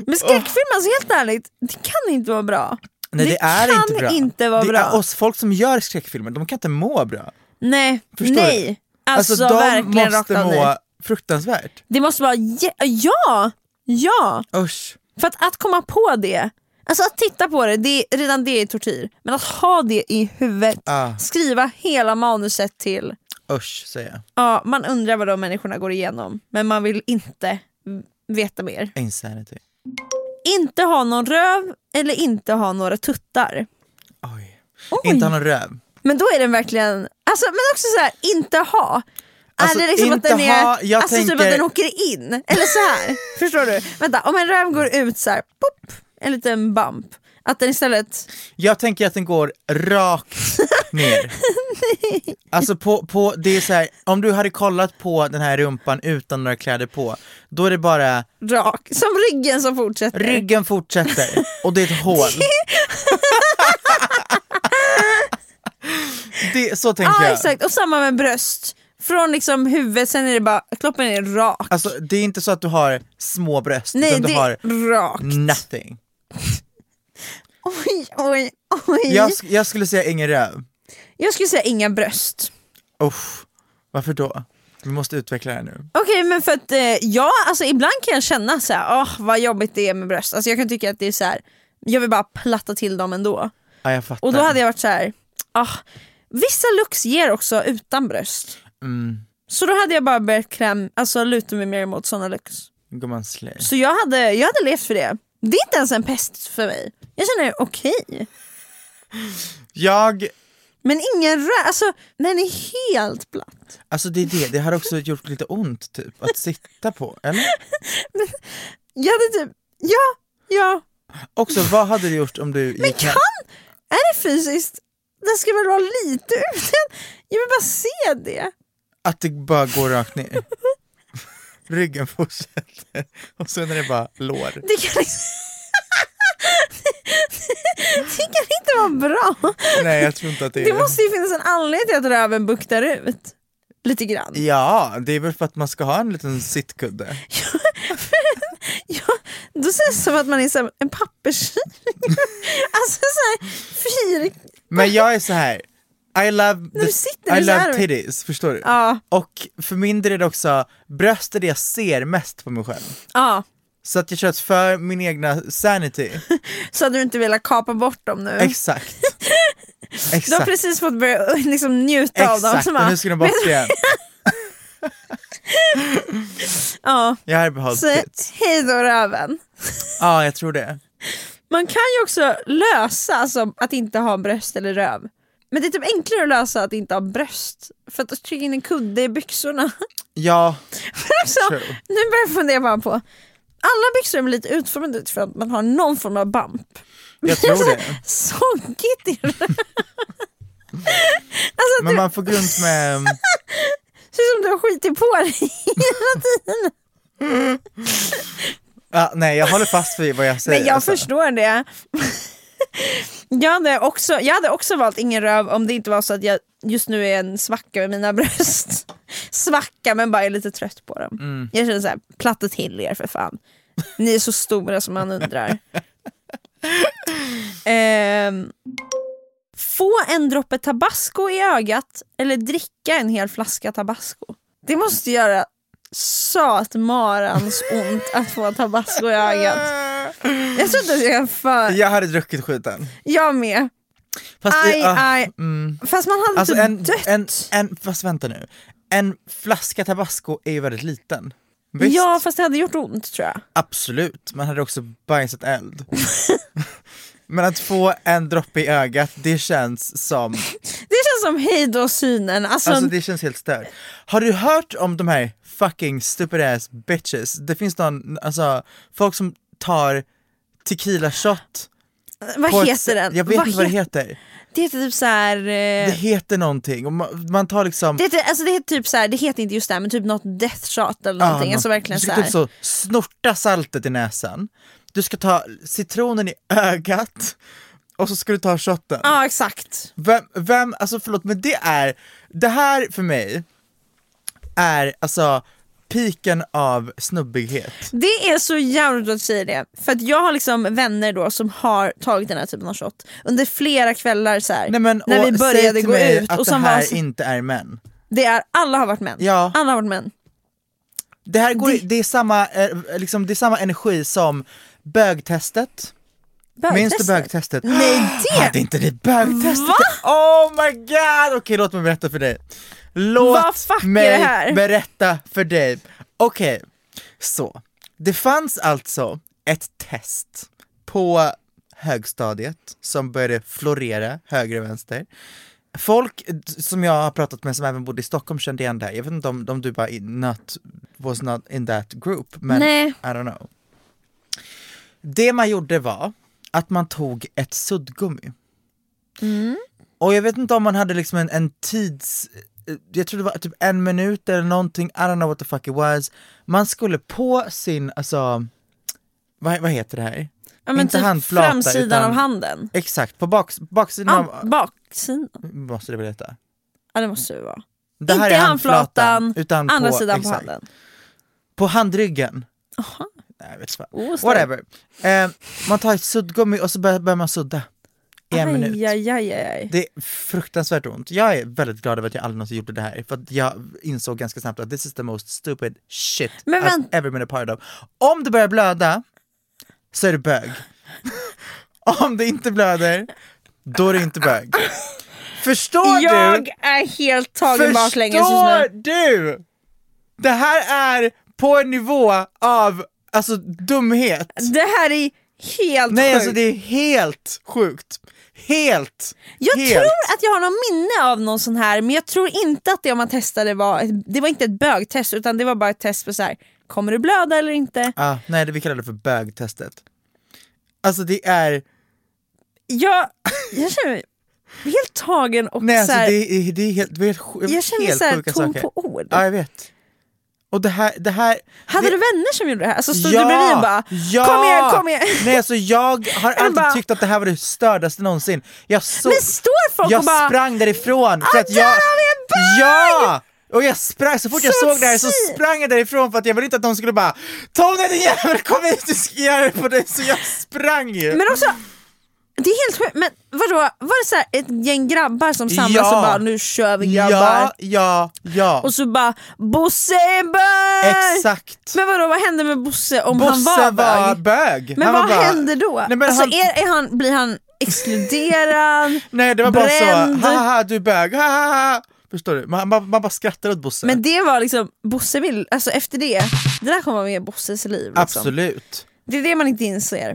Speaker 2: Men skräckfilm, alltså helt ärligt, det kan inte vara bra.
Speaker 3: Nej det,
Speaker 2: Det
Speaker 3: är
Speaker 2: kan
Speaker 3: inte bra.
Speaker 2: inte vara
Speaker 3: det
Speaker 2: bra.
Speaker 3: Är oss, folk som gör skräckfilmer, de kan inte må bra.
Speaker 2: Nej,
Speaker 3: Förstår du?
Speaker 2: nej. Alltså,
Speaker 3: de
Speaker 2: verkligen rakt
Speaker 3: måste
Speaker 2: av
Speaker 3: må
Speaker 2: nej.
Speaker 3: fruktansvärt.
Speaker 2: Det måste vara, jä- ja, ja.
Speaker 3: Usch.
Speaker 2: För att, att komma på det, alltså att titta på det, det är, redan det är tortyr. Men att ha det i huvudet,
Speaker 3: Ah.
Speaker 2: skriva hela manuset till,
Speaker 3: Usch säger jag.
Speaker 2: ja man undrar vad de människorna går igenom men man vill inte v- veta mer.
Speaker 3: Insanity.
Speaker 2: Inte ha någon röv eller inte ha några tuttar.
Speaker 3: Oj. Inte ha någon röv.
Speaker 2: Men då är den verkligen, alltså, men också så här, inte ha.
Speaker 3: Alltså,
Speaker 2: är det liksom att
Speaker 3: inte
Speaker 2: den är,
Speaker 3: ha, jag
Speaker 2: alltså typ
Speaker 3: tänker-
Speaker 2: att den åker in? Eller så
Speaker 3: (laughs)
Speaker 2: här, förstår du? Vänta, om en röv går ut så här, pop, en liten bump. Att den istället,
Speaker 3: Jag tänker att den går
Speaker 2: (laughs)
Speaker 3: rakt ner. alltså på, på, det är så här, om du hade kollat på den här rumpan utan några kläder på, då är det bara
Speaker 2: rak, som ryggen som fortsätter.
Speaker 3: ryggen fortsätter och det är ett
Speaker 2: (laughs)
Speaker 3: hål. det, så tänker
Speaker 2: Ja
Speaker 3: jag.
Speaker 2: exakt, och samma med bröst. Från liksom huvudet, sen är det bara, kroppen är rak.
Speaker 3: Alltså det är inte så att du har små bröst,
Speaker 2: Nej
Speaker 3: utan
Speaker 2: det
Speaker 3: du har
Speaker 2: är rakt.
Speaker 3: nothing.
Speaker 2: Oj oj oj.
Speaker 3: Jag,
Speaker 2: Jag...
Speaker 3: sk- jag skulle säga ingen röv.
Speaker 2: skulle säga inga bröst.
Speaker 3: Usch, varför då? Vi måste utveckla det här nu.
Speaker 2: Okej men för att eh, jag, alltså ibland kan jag känna så här, åh vad jobbigt det är med bröst. Alltså jag kan tycka att det är så här, jag vill bara platta till dem ändå.
Speaker 3: Ja, jag fattar.
Speaker 2: Och då hade jag varit så här, ah, vissa looks ger också utan bröst. Så då hade jag bara börjat kläm, alltså luta mig mer mot sådana looks.
Speaker 3: Gumman slay.
Speaker 2: Så jag hade, jag hade levt för det. Det är inte ens en pest för mig. Jag känner okej.
Speaker 3: Jag
Speaker 2: Men ingen rö- alltså den är helt platt.
Speaker 3: Alltså det är det, det har också gjort lite ont typ att sitta på, eller?
Speaker 2: Jag hade typ, ja, ja.
Speaker 3: Också, vad hade du gjort om du gick hem?
Speaker 2: Är det fysiskt? Den ska väl vara lite uten? Jag vill bara se det.
Speaker 3: Att det bara går
Speaker 2: (laughs)
Speaker 3: rakt ner? Ryggen fortsätter och sen är det bara lår.
Speaker 2: Det kan liksom... (laughs) det kan inte vara bra.
Speaker 3: Nej jag tror inte att det är
Speaker 2: Det måste ju finnas en anledning till att röven buktar ut. Lite grann.
Speaker 3: Ja, det är väl för att man ska ha en liten sittkudde.
Speaker 2: Ja, då känns det som att man är som en papperskil. alltså så här, fyr...
Speaker 3: Men jag är så här. I love,
Speaker 2: När du sitter
Speaker 3: I
Speaker 2: så
Speaker 3: love
Speaker 2: här.
Speaker 3: titties, förstår du?
Speaker 2: Ja.
Speaker 3: Och för min del är det också, bröst är det jag ser mest på mig själv.
Speaker 2: Ja,
Speaker 3: Så att jag kör för min egna
Speaker 2: (laughs)
Speaker 3: sanity.
Speaker 2: så hade du inte velat kapa bort dem nu.
Speaker 3: Exakt.
Speaker 2: Du har
Speaker 3: Exakt.
Speaker 2: precis fått börja ö, liksom, njuta av dem.
Speaker 3: Exakt,
Speaker 2: Så
Speaker 3: och
Speaker 2: bara,
Speaker 3: nu ska de bort igen.
Speaker 2: ja,
Speaker 3: Jag har behållit
Speaker 2: (laughs) så
Speaker 3: tits.
Speaker 2: hej då röven.
Speaker 3: Ja, jag tror det.
Speaker 2: Man kan ju också lösa alltså, att inte ha bröst eller röv. Men det är typ enklare att lösa att inte ha bröst. För att trycka in en kudde i byxorna. (laughs)
Speaker 3: Ja,
Speaker 2: alltså,
Speaker 3: True.
Speaker 2: nu börjar jag fundera bara på. Alla byxor är lite utformade ut för att man har någon form av bump. Alltså,
Speaker 3: jag tror det.
Speaker 2: (laughs) Sonkigt i det. alltså,
Speaker 3: Men
Speaker 2: du,
Speaker 3: man får gå runt med... mm,
Speaker 2: ser ut som du har skitit på dig hela tiden.
Speaker 3: Ja, nej, jag håller fast vid vad jag säger.
Speaker 2: Men jag
Speaker 3: alltså.
Speaker 2: förstår det. (laughs) jag, hade också, jag hade också valt ingen röv om det inte var så att jag just nu är en svacka med mina (laughs) bröst. svacka men bara är lite trött på dem. Jag känner såhär, platta till er för fan. Ni är så stora som man undrar. Ehm, få en droppe tabasco i ögat eller dricka en hel flaska tabasco. Det måste göra satmarans ont att få tabasco i ögat. Jag tror inte att jag kan för...
Speaker 3: Jag hade druckit skiten.
Speaker 2: Jag med.
Speaker 3: Fast, i-
Speaker 2: Aj,
Speaker 3: ah,
Speaker 2: aj. Fast man hade
Speaker 3: Alltså
Speaker 2: inte
Speaker 3: en,
Speaker 2: dött.
Speaker 3: en, en, fast vänta nu. En flaska tabasco är ju väldigt liten. Visst,
Speaker 2: ja, fast det hade gjort ont tror jag.
Speaker 3: absolut. Man hade också bajsat eld. (laughs) Men att få en droppe i ögat, det känns
Speaker 2: (laughs)
Speaker 3: som,
Speaker 2: Det känns som hej då synen. Alltså,
Speaker 3: alltså det känns helt stört. Har du hört om de här fucking stupid ass bitches? Det finns någon, alltså folk som tar tequila shot. på
Speaker 2: vad
Speaker 3: ett-
Speaker 2: heter den?
Speaker 3: Jag vet inte vad det
Speaker 2: het-
Speaker 3: heter.
Speaker 2: Det heter typ så här... eh,
Speaker 3: Det heter någonting. Och man, man tar liksom
Speaker 2: Det heter, alltså det heter typ så här, det heter inte just det här, men typ något death shot eller någonting.
Speaker 3: Ja,
Speaker 2: alltså
Speaker 3: man-
Speaker 2: verkligen
Speaker 3: du
Speaker 2: så
Speaker 3: ska
Speaker 2: här.
Speaker 3: typ så snorta saltet i näsan, du ska ta citronen i ögat och så ska du ta shotten.
Speaker 2: Ja, exakt.
Speaker 3: Vem, vem, alltså förlåt men det är, det här för mig är alltså piken av snubbighet.
Speaker 2: Det är så jävligt bra att du säger det. För att jag har liksom vänner då som har tagit den här typen av shot under flera kvällar så här,
Speaker 3: Nej, men, och
Speaker 2: när vi
Speaker 3: säg
Speaker 2: började
Speaker 3: till
Speaker 2: gå
Speaker 3: mig
Speaker 2: ut.
Speaker 3: att
Speaker 2: Och
Speaker 3: det
Speaker 2: som
Speaker 3: här
Speaker 2: var, så-
Speaker 3: inte är män.
Speaker 2: det är, alla har varit män.
Speaker 3: Ja.
Speaker 2: Alla har varit män.
Speaker 3: Det här går, det,
Speaker 2: Det-
Speaker 3: är, samma, eh, liksom, det är samma energi som bögtestet. Minns du
Speaker 2: (gasps)
Speaker 3: bögtestet? Ah,
Speaker 2: Nej, det-
Speaker 3: Hade inte ni bögtestet?
Speaker 2: Va?
Speaker 3: Oh my god! Okej låt mig berätta för dig.
Speaker 2: Vad
Speaker 3: Låt
Speaker 2: fuck är
Speaker 3: mig
Speaker 2: det här?
Speaker 3: berätta för dig. Okej, så. Det fanns alltså ett test på högstadiet som började florera höger och vänster. Folk eh, som jag har pratat med som även bodde i Stockholm kände igen det här. Jag vet inte om, om du bara i- not, was not in that group, men
Speaker 2: Nej.
Speaker 3: I don't know. Det man gjorde var att man tog ett suddgummi.
Speaker 2: Mm.
Speaker 3: Och jag vet inte om man hade liksom en, en tids... eh, Jag tror det var typ en minut eller någonting, I don't know what the fuck it was. Man skulle på sin, alltså... Vad, vad heter det här?
Speaker 2: Ja, men
Speaker 3: Inte
Speaker 2: typ
Speaker 3: handflata,
Speaker 2: framsidan
Speaker 3: utan-
Speaker 2: av handen.
Speaker 3: Exakt, på bak, baksidan
Speaker 2: Ah,
Speaker 3: av...
Speaker 2: baksidan?
Speaker 3: Måste det väl heta?
Speaker 2: Ja det måste det vara.
Speaker 3: Det
Speaker 2: inte
Speaker 3: är
Speaker 2: handflatan,
Speaker 3: utan på,
Speaker 2: andra sidan
Speaker 3: exakt,
Speaker 2: på handen.
Speaker 3: På handryggen. Nej, jag vet inte vad.
Speaker 2: Oh, starkt.
Speaker 3: Whatever. Eh, man tar ett suddgummi och så börjar, börjar man sudda. I en minut.
Speaker 2: Aj, aj, aj, aj.
Speaker 3: Det är fruktansvärt ont. Jag är väldigt glad över att jag aldrig någonsin gjorde det här. För att jag insåg ganska snabbt att this is the most stupid shit
Speaker 2: Men
Speaker 3: I've
Speaker 2: vänt-
Speaker 3: ever been a part of. Om det börjar blöda så är
Speaker 2: (laughs)
Speaker 3: det bög. Om det inte blöder, då är det inte bög. Förstår
Speaker 2: Jag
Speaker 3: du?
Speaker 2: är helt tagen baklänges just nu.
Speaker 3: Förstår du? Det här är på en nivå av alltså dumhet.
Speaker 2: Det här Alltså, är helt
Speaker 3: Nej
Speaker 2: sjukt.
Speaker 3: alltså det är helt sjukt. Helt!
Speaker 2: Jag
Speaker 3: helt.
Speaker 2: tror att jag har någon minne av någon sån här men jag tror inte att det man testade var, ett, det var inte ett bögtest utan det var bara ett test på så här. kommer du blöda eller inte?
Speaker 3: Ah, nej, det vi kallar det för bögtestet. Alltså det är,
Speaker 2: Jag, jag känner mig helt tagen och
Speaker 3: nej
Speaker 2: så
Speaker 3: alltså
Speaker 2: här,
Speaker 3: det är, det är helt, det är helt,
Speaker 2: jag känner mig
Speaker 3: helt
Speaker 2: så här
Speaker 3: sjuka
Speaker 2: tom
Speaker 3: saker.
Speaker 2: på ord.
Speaker 3: Ja jag vet. Och det här, det här.
Speaker 2: Hade
Speaker 3: det,
Speaker 2: du vänner som gjorde det här? Alltså stod du bredvid och bara
Speaker 3: ja!
Speaker 2: kom igen, kom igen. (laughs)
Speaker 3: Nej alltså jag har alltid
Speaker 2: bara-
Speaker 3: tyckt att det här var det stördaste någonsin. Jag såg,
Speaker 2: Men står folk
Speaker 3: jag
Speaker 2: och bara
Speaker 3: sprang därifrån för
Speaker 2: "Ah,
Speaker 3: att
Speaker 2: där
Speaker 3: jag...
Speaker 2: har vi en bög!"
Speaker 3: Ja! Och jag sprang, så fort jag
Speaker 2: Så
Speaker 3: såg det här så
Speaker 2: si-
Speaker 3: sprang jag därifrån för att jag ville inte att någon skulle bara Tony din jävel kom hit, du ska göra det på dig! Så jag sprang ju!
Speaker 2: Men också, det är helt sjukt, men vadå, var det så här ett gäng grabbar som samlas
Speaker 3: Ja.
Speaker 2: och bara nu kör vi alltså, grabbar?
Speaker 3: Ja, ja, ja.
Speaker 2: Och så bara Bosse är bög!
Speaker 3: Exakt.
Speaker 2: Men vadå, vad hände med Bosse om han var,
Speaker 3: Bosse var
Speaker 2: bög?
Speaker 3: bög.
Speaker 2: Men
Speaker 3: Han
Speaker 2: vad
Speaker 3: var bara-
Speaker 2: hände då?
Speaker 3: Nej, men
Speaker 2: alltså,
Speaker 3: han-
Speaker 2: är, är han, blir han exkluderad?
Speaker 3: (laughs) Nej det var bara
Speaker 2: bränd?
Speaker 3: så, haha du är bög, haha. Förstår du? Man, man, man bara skrattar åt Bosse.
Speaker 2: Men det var liksom, Bosse vill, alltså efter det, det där kommer vara med i Bosses liv. Liksom.
Speaker 3: Absolut.
Speaker 2: Det är det man inte inser.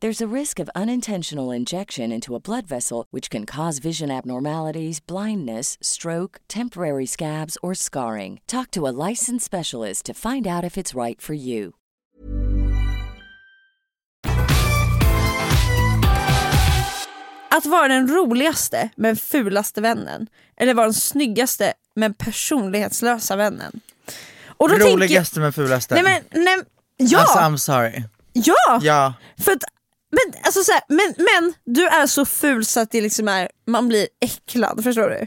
Speaker 1: There's a risk of unintentional injection into a blood vessel, which can cause vision abnormalities, blindness, stroke, temporary scabs, or scarring. Talk to a licensed specialist to find out if it's right for you.
Speaker 2: Att vara den roligaste men fulaste vännen. Eller vara den snyggaste men personlighetslösa vännen. Och då tänker-
Speaker 3: Roligaste men fulaste.
Speaker 2: Nej, men, nej, ja,
Speaker 3: Alltså I'm sorry.
Speaker 2: ja!
Speaker 3: Ja.
Speaker 2: För att, men, alltså så här, men, men du är så ful så att det liksom är, man blir äcklad, förstår du?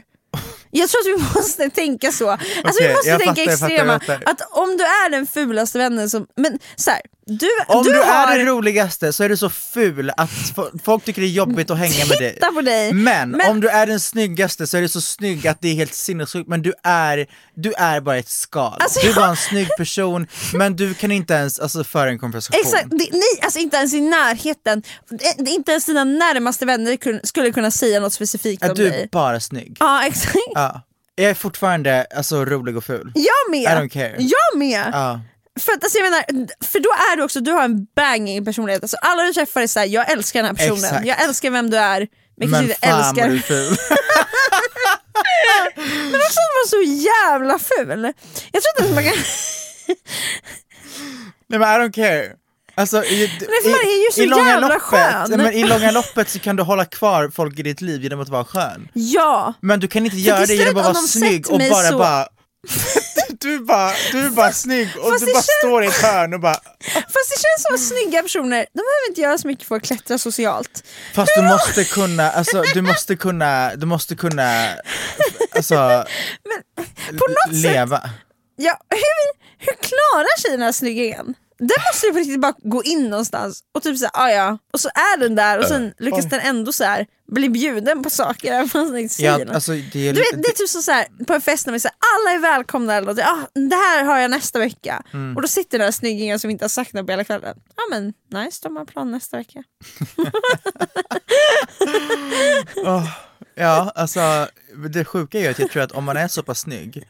Speaker 2: Jag tror att vi (laughs) måste tänka så. Alltså
Speaker 3: Okej,
Speaker 2: vi måste
Speaker 3: jag
Speaker 2: tänka
Speaker 3: fattar, jag fattar,
Speaker 2: extrema.
Speaker 3: jag fattar.
Speaker 2: Att om du är den fulaste vännen som, men så här, du,
Speaker 3: Om du,
Speaker 2: har,
Speaker 3: är den roligaste så är du så ful att fo- folk tycker det är jobbigt att hänga med dig.
Speaker 2: Titta på dig.
Speaker 3: Men,
Speaker 2: Men-
Speaker 3: om du är den snyggaste så är du så snygg att det är helt sinnessjukt men du är, du är bara ett skal.
Speaker 2: Alltså,
Speaker 3: du är bara
Speaker 2: jag-
Speaker 3: en snygg person men du kan inte ens alltså, föra en konversation.
Speaker 2: Exakt, det, nej, alltså inte ens i närheten. Det, det, inte ens dina närmaste vänner kun, skulle kunna säga något specifikt om
Speaker 3: Att du är
Speaker 2: dig.
Speaker 3: bara snygg.
Speaker 2: Ja, exakt.
Speaker 3: Ja. Jag är fortfarande alltså, rolig och ful.
Speaker 2: Jag med!
Speaker 3: I don't care.
Speaker 2: Jag med!
Speaker 3: Ja.
Speaker 2: För, att, alltså, jag menar, för då är du också, du har en banging personlighet. Alltså, alla du träffar är såhär, jag älskar den här personen,
Speaker 3: Exakt.
Speaker 2: jag älskar vem du är. Men kanske
Speaker 3: Men
Speaker 2: inte
Speaker 3: fan
Speaker 2: älskar...
Speaker 3: vad du är ful.
Speaker 2: (laughs)
Speaker 3: (laughs)
Speaker 2: Men varför är man så jävla ful? Jag tror inte ens man kan... (laughs)
Speaker 3: Nej men I don't care. Alltså, i,
Speaker 2: för man är ju så jävla
Speaker 3: loppet,
Speaker 2: skön.
Speaker 3: Nej, Men I långa loppet så kan du hålla kvar folk i ditt liv genom att vara skön.
Speaker 2: Ja!
Speaker 3: Men du kan inte göra
Speaker 2: till
Speaker 3: det
Speaker 2: slut
Speaker 3: genom att
Speaker 2: om
Speaker 3: vara
Speaker 2: de
Speaker 3: snygg
Speaker 2: sett
Speaker 3: och
Speaker 2: mig
Speaker 3: bara
Speaker 2: så-
Speaker 3: bara (laughs) du är bara, du är bara snygg och
Speaker 2: fast
Speaker 3: du
Speaker 2: det
Speaker 3: bara
Speaker 2: känns-
Speaker 3: står i ett hörn och bara
Speaker 2: Fast det känns som att snygga personer, de behöver inte göra så mycket för att klättra socialt.
Speaker 3: Fast du måste kunna, alltså du måste kunna, du måste kunna alltså
Speaker 2: På något sätt
Speaker 3: leva.
Speaker 2: Ja, (laughs) hur, hur klarar sig den här snyggingen? Där måste du på riktigt bara gå in någonstans och typ såhär, ah, ja. och så är den där och sen lyckas den ändå så här bli bjuden på saker även fast den inte säger
Speaker 3: Ja,
Speaker 2: något.
Speaker 3: alltså, det är,
Speaker 2: du vet, det är typ som så här, på en fest när vi säger alla är välkomna eller något, ah, det här har jag nästa vecka.
Speaker 3: Mm.
Speaker 2: Och då sitter den där snyggingen som inte har sagt något på hela kvällen. Ja men nice, de har plan nästa vecka.
Speaker 3: ja, alltså det sjuka är ju att jag tror att om man är så pass snygg,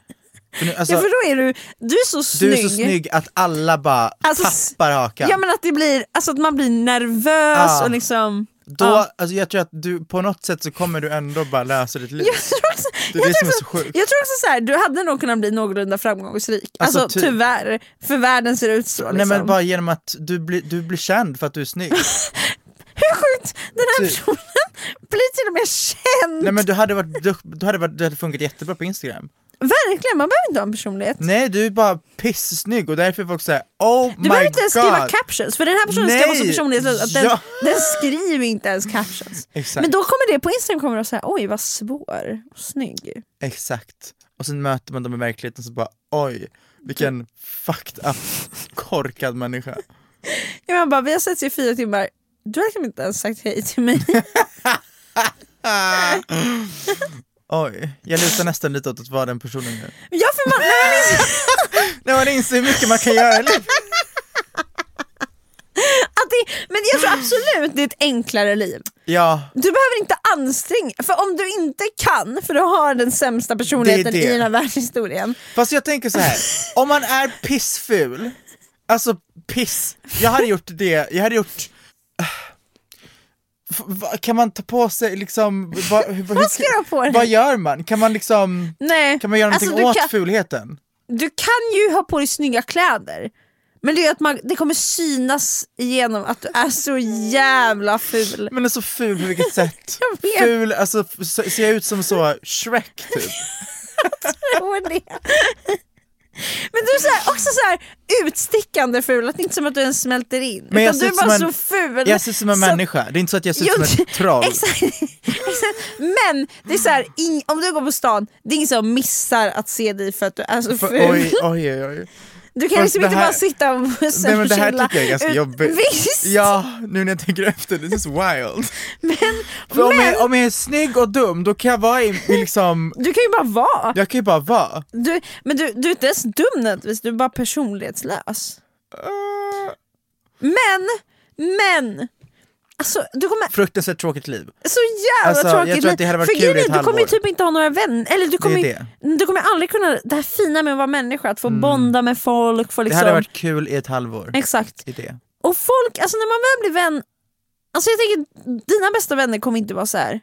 Speaker 3: för nu, alltså,
Speaker 2: ja, för då är du, du är så
Speaker 3: du
Speaker 2: snygg.
Speaker 3: är så snygg att alla bara
Speaker 2: Alltså, s-
Speaker 3: tappar hakan.
Speaker 2: Ja men att, det blir, alltså, att man blir nervös
Speaker 3: Ja.
Speaker 2: och liksom...
Speaker 3: Ah. Då,
Speaker 2: ja.
Speaker 3: alltså, jag tror att du på något sätt så kommer du ändå bara lösa ditt liv.
Speaker 2: Jag tror också,
Speaker 3: Det är
Speaker 2: jag
Speaker 3: det som
Speaker 2: tror
Speaker 3: är
Speaker 2: också,
Speaker 3: så sjukt.
Speaker 2: jag tror också så här, du hade nog kunnat bli någorlunda framgångsrik.
Speaker 3: Alltså,
Speaker 2: Alltså,
Speaker 3: typ.
Speaker 2: tyvärr, för världen ser ut så. Liksom.
Speaker 3: Nej men bara genom att du blir, du blir känd för att du
Speaker 2: (laughs)
Speaker 3: är snygg.
Speaker 2: Hur sjukt, den här
Speaker 3: Typ.
Speaker 2: personen blir till och med känd!
Speaker 3: Nej men du hade varit, du, du hade varit, du hade funkat jättebra på Instagram.
Speaker 2: Verkligen, man behöver inte ha en personlighet.
Speaker 3: Nej du är bara pisssnygg och därför är folk säger oh
Speaker 2: Du
Speaker 3: my
Speaker 2: behöver inte ens
Speaker 3: god.
Speaker 2: skriva captions, för den här personen ska vara så
Speaker 3: Nej.
Speaker 2: personlighetslös att den,
Speaker 3: Ja.
Speaker 2: den skriver inte ens captions.
Speaker 3: Exakt.
Speaker 2: Men då kommer det på Instagram kommer de säga oj vad svår och snygg.
Speaker 3: Exakt. Och sen möter man dem i verkligheten så bara oj vilken fucked up korkad
Speaker 2: (laughs)
Speaker 3: människa.
Speaker 2: Ja, men bara, vi har setts i fyra timmar, du har liksom inte ens sagt hej till mig. (laughs)
Speaker 3: Oj, jag lutar nästan lite åt att vara den personen nu.
Speaker 2: ja, för man, nej, men liksom-
Speaker 3: När man inser hur mycket man kan göra i livet.
Speaker 2: att det, men jag tror absolut det är ett enklare liv.
Speaker 3: Ja,
Speaker 2: Du behöver inte anstränga, för om du inte kan, för du har den sämsta personligheten
Speaker 3: Det är det.
Speaker 2: i den här världshistorien.
Speaker 3: Fast jag tänker så här. om man är pissful Alltså piss! Jag hade gjort det, jag hade gjort... äh, F- va- Kan man ta på sig liksom... Va, hur-
Speaker 2: (laughs)
Speaker 3: hur-
Speaker 2: Vad ska jag ha på dig?
Speaker 3: Vad gör man? Kan man liksom...
Speaker 2: Nej.
Speaker 3: Kan man göra
Speaker 2: Alltså,
Speaker 3: någonting
Speaker 2: du
Speaker 3: åt
Speaker 2: kan-
Speaker 3: fulheten?
Speaker 2: Du kan ju ha på dig snygga kläder. Men det är att man, det kommer synas igenom att du är så jävla ful. (laughs)
Speaker 3: Men alltså ful på vilket sätt?
Speaker 2: Jag vet.
Speaker 3: Ful, alltså f- se- ser jag ut som så Shrek
Speaker 2: (laughs)
Speaker 3: typ?
Speaker 2: tror det. Men du är så här, också så här utstickande ful, att det är inte som att du ens smälter in.
Speaker 3: Men jag
Speaker 2: utan
Speaker 3: ser
Speaker 2: du
Speaker 3: ut
Speaker 2: är bara
Speaker 3: som en-
Speaker 2: så ful.
Speaker 3: Jag ser ut som en
Speaker 2: så-
Speaker 3: människa, det är inte så att jag ser ut
Speaker 2: Jo,
Speaker 3: som ett troll.
Speaker 2: (laughs) Exakt, exakt. Men det är så här, ing, om du går på stan, det är ingen som missar att se dig för att du är så
Speaker 3: För,
Speaker 2: ful.
Speaker 3: oj, oj, oj. oj.
Speaker 2: du kan
Speaker 3: fast
Speaker 2: liksom
Speaker 3: det
Speaker 2: inte
Speaker 3: här-
Speaker 2: bara sitta och bussen
Speaker 3: Nej men det här
Speaker 2: och chilla
Speaker 3: tycker jag är ganska
Speaker 2: ut-
Speaker 3: jobbigt.
Speaker 2: Visst!
Speaker 3: Ja, nu när jag tänker efter, this is wild.
Speaker 2: Men,
Speaker 3: För om,
Speaker 2: men
Speaker 3: jag, om jag är snygg och dum, då kan jag vara i, i liksom,
Speaker 2: du kan ju bara vara.
Speaker 3: jag kan ju bara vara.
Speaker 2: Du, men du, du är inte ens dum nödvändigtvis, du är bara personlighetslös.
Speaker 3: Eh,
Speaker 2: Men, men! Alltså du kommer
Speaker 3: Fruktansvärt tråkigt liv.
Speaker 2: så jävla
Speaker 3: Alltså, jag
Speaker 2: tråkigt.
Speaker 3: tror att det hade varit
Speaker 2: För
Speaker 3: kul
Speaker 2: grejen
Speaker 3: i ett
Speaker 2: är, Du kommer ju
Speaker 3: halvår.
Speaker 2: typ inte ha några vänner, eller du kommer, ju-
Speaker 3: det. Mm.
Speaker 2: du kommer aldrig kunna, det här fina med att vara människa, att få bonda med folk, få
Speaker 3: Det
Speaker 2: liksom...
Speaker 3: hade varit kul i ett halvår.
Speaker 2: Exakt.
Speaker 3: I det.
Speaker 2: Och folk, alltså när man väl blir vän, alltså jag tänker dina bästa vänner kommer inte vara så här.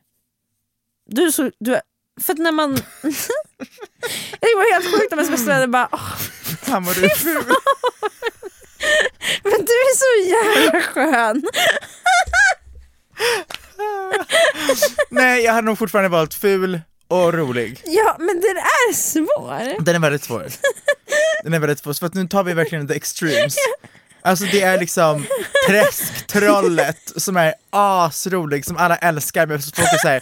Speaker 2: Du är så, du är, för att när man... (laughs) jag tycker det var helt sjukt om ens bästa vänner bara "Åh,
Speaker 3: Fan vad du är ful.
Speaker 2: men du är så jävla
Speaker 3: (laughs)
Speaker 2: skön.
Speaker 3: Nej jag hade nog fortfarande valt ful och rolig.
Speaker 2: Ja men den är svår.
Speaker 3: Den är väldigt svår. Den är väldigt svår, för att nu tar vi verkligen the extremes. Alltså det är liksom träsktrollet som är asrolig, som alla älskar men folk är såhär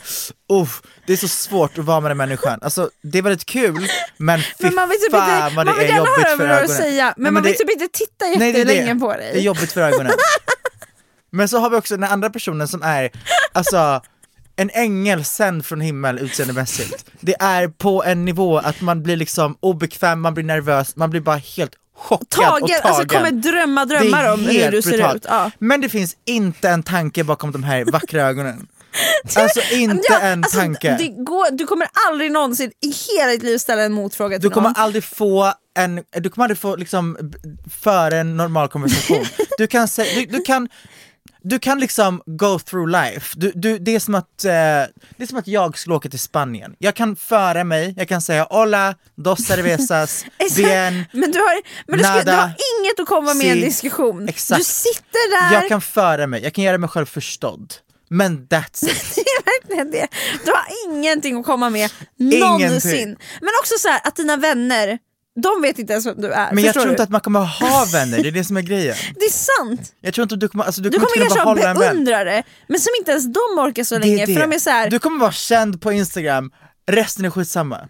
Speaker 3: uff, det är så svårt att vara med den människan. Alltså det är väldigt kul men fy
Speaker 2: Men man vill typ
Speaker 3: fan
Speaker 2: inte, man
Speaker 3: vad det
Speaker 2: vill
Speaker 3: är
Speaker 2: gärna
Speaker 3: jobbigt
Speaker 2: höra
Speaker 3: för
Speaker 2: vad du har att
Speaker 3: ögonen.
Speaker 2: säga men,
Speaker 3: Nej,
Speaker 2: man vill
Speaker 3: det-
Speaker 2: typ inte titta
Speaker 3: Nej, det är
Speaker 2: jättelänge
Speaker 3: det.
Speaker 2: på
Speaker 3: Det är
Speaker 2: dig.
Speaker 3: jobbigt
Speaker 2: (laughs)
Speaker 3: för ögonen. Men så har vi också den andra personen som är, alltså, en ängel sänd från himmel utseendemässigt. Det är på en nivå att man blir liksom obekväm, man blir nervös, man blir bara helt chockad och
Speaker 2: Tagen,
Speaker 3: tagen.
Speaker 2: alltså kommer drömma
Speaker 3: Det
Speaker 2: drömmar
Speaker 3: är
Speaker 2: om hur
Speaker 3: helt
Speaker 2: du ser
Speaker 3: brutalt.
Speaker 2: ut. Ja.
Speaker 3: Men det finns inte en tanke bakom de här vackra
Speaker 2: (laughs)
Speaker 3: ögonen. Alltså inte
Speaker 2: Ja,
Speaker 3: en
Speaker 2: alltså,
Speaker 3: tanke.
Speaker 2: Det går, du kommer aldrig någonsin i hela ditt liv ställa en motfråga till
Speaker 3: Du kommer
Speaker 2: någon.
Speaker 3: aldrig få en, du kommer aldrig få liksom b- föra en normal konversation. Du kan, sä- du, du kan, du kan liksom go through life. Du, du, det, är som att, eh, det är som att jag skulle åka till Spanien. Jag kan föra mig, jag kan säga hola, dos cervezas,
Speaker 2: (laughs) Exakt.
Speaker 3: bien.
Speaker 2: men du har, men du, ska, du
Speaker 3: nada,
Speaker 2: har inget att komma med i en
Speaker 3: si,
Speaker 2: diskussion.
Speaker 3: exakt.
Speaker 2: Du sitter där,
Speaker 3: Jag kan föra mig, jag kan göra mig själv förstådd. Men that's
Speaker 2: (laughs)
Speaker 3: it.
Speaker 2: det är verkligen det. Du har ingenting att komma med
Speaker 3: Ingenting.
Speaker 2: någonsin. Men också så här, att dina vänner, de vet inte ens vem du är.
Speaker 3: Men jag
Speaker 2: förstår
Speaker 3: tror
Speaker 2: du?
Speaker 3: inte att man kommer ha vänner, det är det som är grejen.
Speaker 2: Det är sant.
Speaker 3: Jag tror inte du kommer, alltså, du
Speaker 2: Du
Speaker 3: kommer,
Speaker 2: kommer
Speaker 3: inte
Speaker 2: kanske
Speaker 3: kunna
Speaker 2: ha
Speaker 3: behålla en vän.
Speaker 2: beundrare, men som inte ens de orkar så
Speaker 3: Det
Speaker 2: länge.
Speaker 3: det.
Speaker 2: För de är så här,
Speaker 3: Du kommer vara känd på Instagram, resten är skitsamma.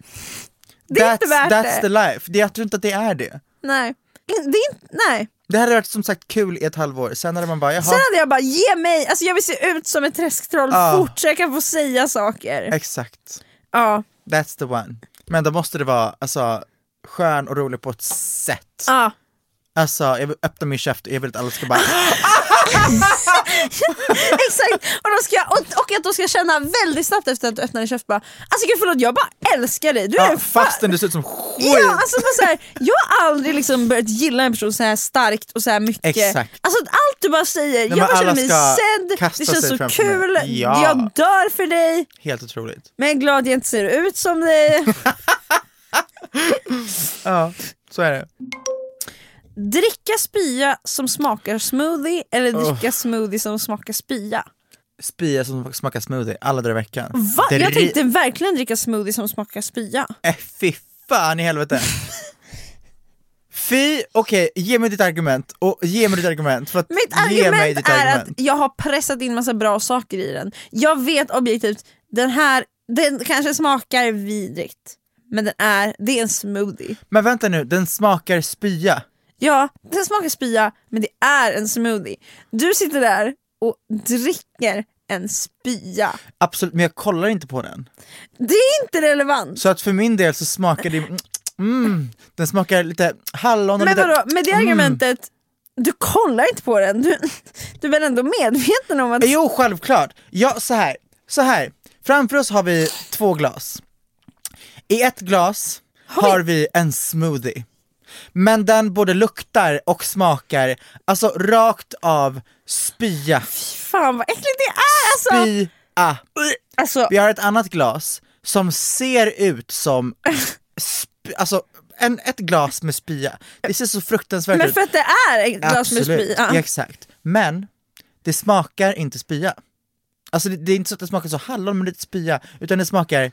Speaker 2: Det är inte värt
Speaker 3: that's
Speaker 2: det.
Speaker 3: the life. Det, jag tror inte att det är det.
Speaker 2: nej. Det är inte, nej.
Speaker 3: Det hade varit som sagt kul i ett halvår, sen hade man bara jaha,
Speaker 2: Sen hade jag bara, ge mig, alltså jag vill se ut som ett träsktroll
Speaker 3: Ja.
Speaker 2: fort så jag kan få säga saker.
Speaker 3: exakt,
Speaker 2: Ja,
Speaker 3: that's the one. Men då måste det vara alltså, skön och rolig på ett sätt.
Speaker 2: ja.
Speaker 3: Alltså jag vill öppna min käft och jag vill att alla
Speaker 2: (laughs)
Speaker 3: ska bara
Speaker 2: exakt. Och, de ska, och, och att de ska känna väldigt snabbt efter att du öppnar din käft bara, alltså gud förlåt jag bara älskar dig, du är
Speaker 3: ja,
Speaker 2: en fan.
Speaker 3: fastän du ser ut som skit.
Speaker 2: Ja, alltså bara så här, jag har aldrig liksom börjat gilla en person så här starkt och så här mycket.
Speaker 3: Exakt.
Speaker 2: Alltså att allt du bara säger,
Speaker 3: men
Speaker 2: jag bara känner
Speaker 3: alla
Speaker 2: mig
Speaker 3: ska
Speaker 2: sedd,
Speaker 3: kasta
Speaker 2: det känns
Speaker 3: sig
Speaker 2: så
Speaker 3: framför mig.
Speaker 2: kul,
Speaker 3: Ja.
Speaker 2: jag dör för dig,
Speaker 3: Helt otroligt.
Speaker 2: men jag är glad jag inte ser ut som
Speaker 3: (laughs)
Speaker 2: dig.
Speaker 3: Ja, så är det.
Speaker 2: Dricka spya som smakar smoothie eller dricka smoothie som smakar spya?
Speaker 3: Spia som smakar smoothie alla dagar i veckan.
Speaker 2: Va?
Speaker 3: Det är
Speaker 2: Jag
Speaker 3: ri-
Speaker 2: tänkte verkligen dricka smoothie som smakar spya.
Speaker 3: Äh, fy fan i helvete. Fy, okej, ge mig ditt argument och ge mig ditt argument för att
Speaker 2: Mitt
Speaker 3: ge mig
Speaker 2: argument
Speaker 3: ditt
Speaker 2: är
Speaker 3: argument.
Speaker 2: att jag har pressat in massa bra saker i den. Jag vet objektivt, den här den kanske smakar vidrigt. Men den är, det är en smoothie.
Speaker 3: Men vänta nu, den smakar spya.
Speaker 2: Ja, den smakar spya, men det är en smoothie. Du sitter där och dricker en spya.
Speaker 3: Absolut, men jag kollar inte på den.
Speaker 2: Det är inte relevant.
Speaker 3: Så att för min del så smakar det, mm, den smakar lite hallon och
Speaker 2: Men
Speaker 3: lite,
Speaker 2: vadå, med
Speaker 3: Mm.
Speaker 2: det argumentet, du kollar inte på den. Du, du är väl ändå medveten om att...
Speaker 3: Jo, självklart. Ja, så här. Så här. Framför oss har vi två glas. I ett glas har vi en smoothie. Men den både luktar och smakar, alltså rakt av spya.
Speaker 2: Fan vad äckligt det är alltså!
Speaker 3: Spya.
Speaker 2: Alltså,
Speaker 3: Vi har ett annat glas som ser ut som sp- alltså, en, ett glas med spya. Det ser så fruktansvärt
Speaker 2: men
Speaker 3: ut.
Speaker 2: för att det är ett glas med
Speaker 3: Absolut,
Speaker 2: spya.
Speaker 3: exakt. Men det smakar inte spya. Alltså det, det är inte så att det smakar så hallon med lite spya, utan det smakar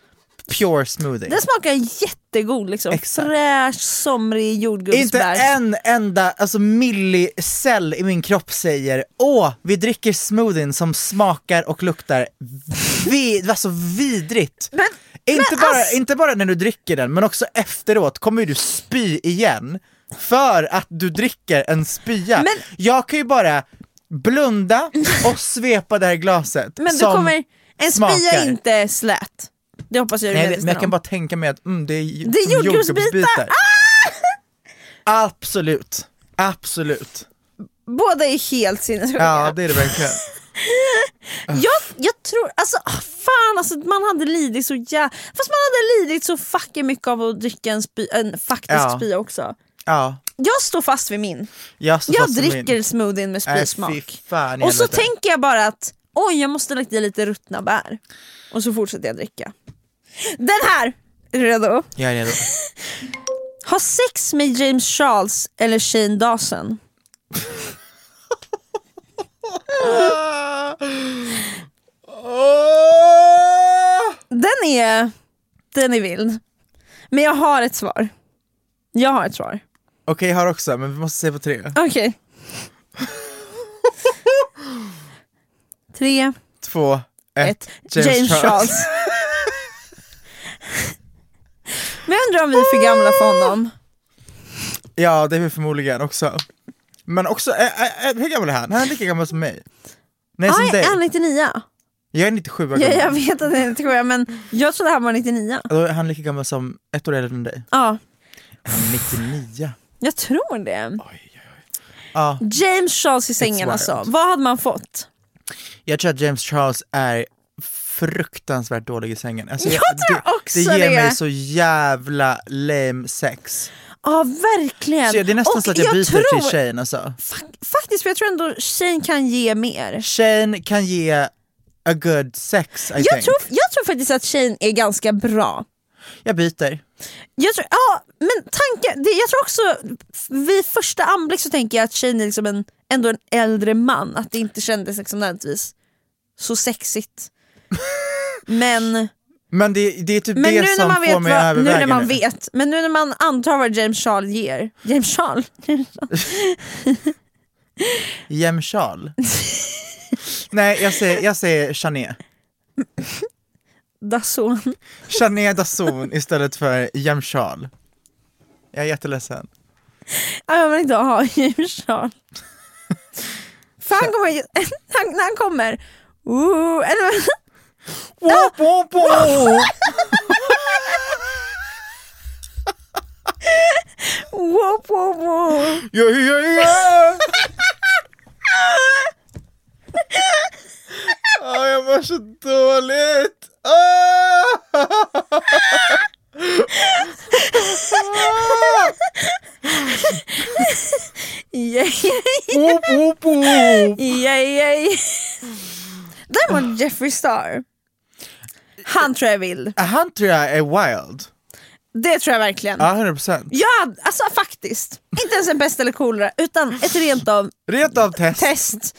Speaker 3: pure smoothie.
Speaker 2: Den smakar jättegod liksom.
Speaker 3: Exakt.
Speaker 2: Fräsch, somrig
Speaker 3: Inte
Speaker 2: jordgubbsbär.
Speaker 3: en enda alltså, millicell i min kropp säger åh, vi dricker smoothien som smakar och luktar vid, alltså vidrigt.
Speaker 2: Men-
Speaker 3: inte,
Speaker 2: men
Speaker 3: bara,
Speaker 2: ass-
Speaker 3: inte bara när du dricker den, men också efteråt kommer ju du spy igen för att du dricker en spya.
Speaker 2: Men-
Speaker 3: Jag kan ju bara blunda och svepa det här glaset
Speaker 2: men du
Speaker 3: som
Speaker 2: kommer... En spya
Speaker 3: smakar.
Speaker 2: är inte slät. Det hoppas jag du
Speaker 3: Nej,
Speaker 2: är
Speaker 3: jag vet, men
Speaker 2: medveten
Speaker 3: jag kan
Speaker 2: om.
Speaker 3: bara tänka mig att mm, det är, ju-
Speaker 2: Det är Ah!
Speaker 3: som
Speaker 2: jordgubbsbitar.
Speaker 3: Absolut, absolut.
Speaker 2: Båda är helt sinnessjuka.
Speaker 3: Ja det är det verkligen.
Speaker 2: Jag, jag tror, alltså ah, fan alltså man hade lidit så jä... Fast man hade lidit så fucking mycket av att dricka en, spy, en faktisk
Speaker 3: Ja.
Speaker 2: spya också.
Speaker 3: Ja,
Speaker 2: Jag står fast vid min.
Speaker 3: jag, står
Speaker 2: Jag
Speaker 3: fast vid
Speaker 2: dricker
Speaker 3: min.
Speaker 2: smoothien med
Speaker 3: Nej, fy
Speaker 2: spysmak.
Speaker 3: fan i
Speaker 2: och så
Speaker 3: helvete.
Speaker 2: tänker jag bara att oj jag måste lägga i lite ruttna bär. Och så fortsätter jag dricka. Den här! Är du redo?
Speaker 3: Jag är redo.
Speaker 2: (laughs) Ha sex med James Charles eller Shane Dawson. Den är, den är vild. Men jag har ett svar. Jag har ett svar.
Speaker 3: Okej jag har också, men vi måste se på tre.
Speaker 2: Okej. (laughs) Tre,
Speaker 3: Två, ett.
Speaker 2: ett, James, Charles. (laughs) Men jag undrar om vi är för gamla för honom.
Speaker 3: (laughs) Ja det är vi förmodligen också. Men också, ä, ä, ä, hur gammal är han? Han är lika gammal som mig. Nej som
Speaker 2: Nej,
Speaker 3: dig.
Speaker 2: han Ah, är 99.
Speaker 3: Jag är 97 år
Speaker 2: Ja,
Speaker 3: gammal.
Speaker 2: jag vet att det är 97 men jag trodde han var 99.
Speaker 3: Då är han lika gammal som, ett år äldre än dig.
Speaker 2: Ja,
Speaker 3: Han är 99.
Speaker 2: jag tror det.
Speaker 3: Ja,
Speaker 2: James Charles i sängen
Speaker 3: wild.
Speaker 2: alltså. Vad hade man fått?
Speaker 3: jag tror att James Charles är fruktansvärt dålig i sängen. Alltså,
Speaker 2: Jag tror också
Speaker 3: det. Det ger
Speaker 2: det.
Speaker 3: mig så jävla lame sex.
Speaker 2: Ja, verkligen.
Speaker 3: Så det är nästan
Speaker 2: Och
Speaker 3: så att jag, byter
Speaker 2: tror,
Speaker 3: till Shane alltså.
Speaker 2: Fak- Faktiskt, för jag tror ändå tjejen kan ge mer.
Speaker 3: Shane kan ge a good sex I
Speaker 2: Jag
Speaker 3: think.
Speaker 2: tror, jag tror faktiskt att tjejen är ganska bra.
Speaker 3: Jag byter.
Speaker 2: Jag tror, ja, men tanke, det, jag tror också, vid första anblick så tänker jag att tjejen är liksom en, ändå en äldre man, att det inte kändes liksom nödvändigtvis så
Speaker 3: (laughs)
Speaker 2: sexigt. Men,
Speaker 3: Men det, det är typ
Speaker 2: men nu,
Speaker 3: det
Speaker 2: när
Speaker 3: som
Speaker 2: man
Speaker 3: får
Speaker 2: vet
Speaker 3: mig
Speaker 2: vad,
Speaker 3: att
Speaker 2: nu
Speaker 3: överväga
Speaker 2: när man vet, men nu när man antar vad James Charles ger, James (laughs) Charles, (laughs)
Speaker 3: Jem Charles. Nej, jag säger, jag säger Chané.
Speaker 2: Dasson.
Speaker 3: Chané Dazon istället för Jem Charles. Jag är jätteledsen.
Speaker 2: Ja, Jag vill inte ha James Charles. För han kommer, ju- han, (laughs) när han kommer, ooh, eller, Ah!
Speaker 3: Wow, wow, wow.
Speaker 2: whoop, whoop, whoop.
Speaker 3: Ja, ja, ja. Ah, jag mår så dåligt! Ah!
Speaker 2: Yeah,
Speaker 3: Boop, boop, boop.
Speaker 2: yeah, yeah. Däremot Jeffrey Star. Han tror jag vill.
Speaker 3: Ah. Han tror jag är wild.
Speaker 2: Det tror jag verkligen.
Speaker 3: Ja, 100 procent.
Speaker 2: Ja, alltså faktiskt. Inte ens en bäst eller coolare utan ett rent av
Speaker 3: Rent av test.
Speaker 2: test.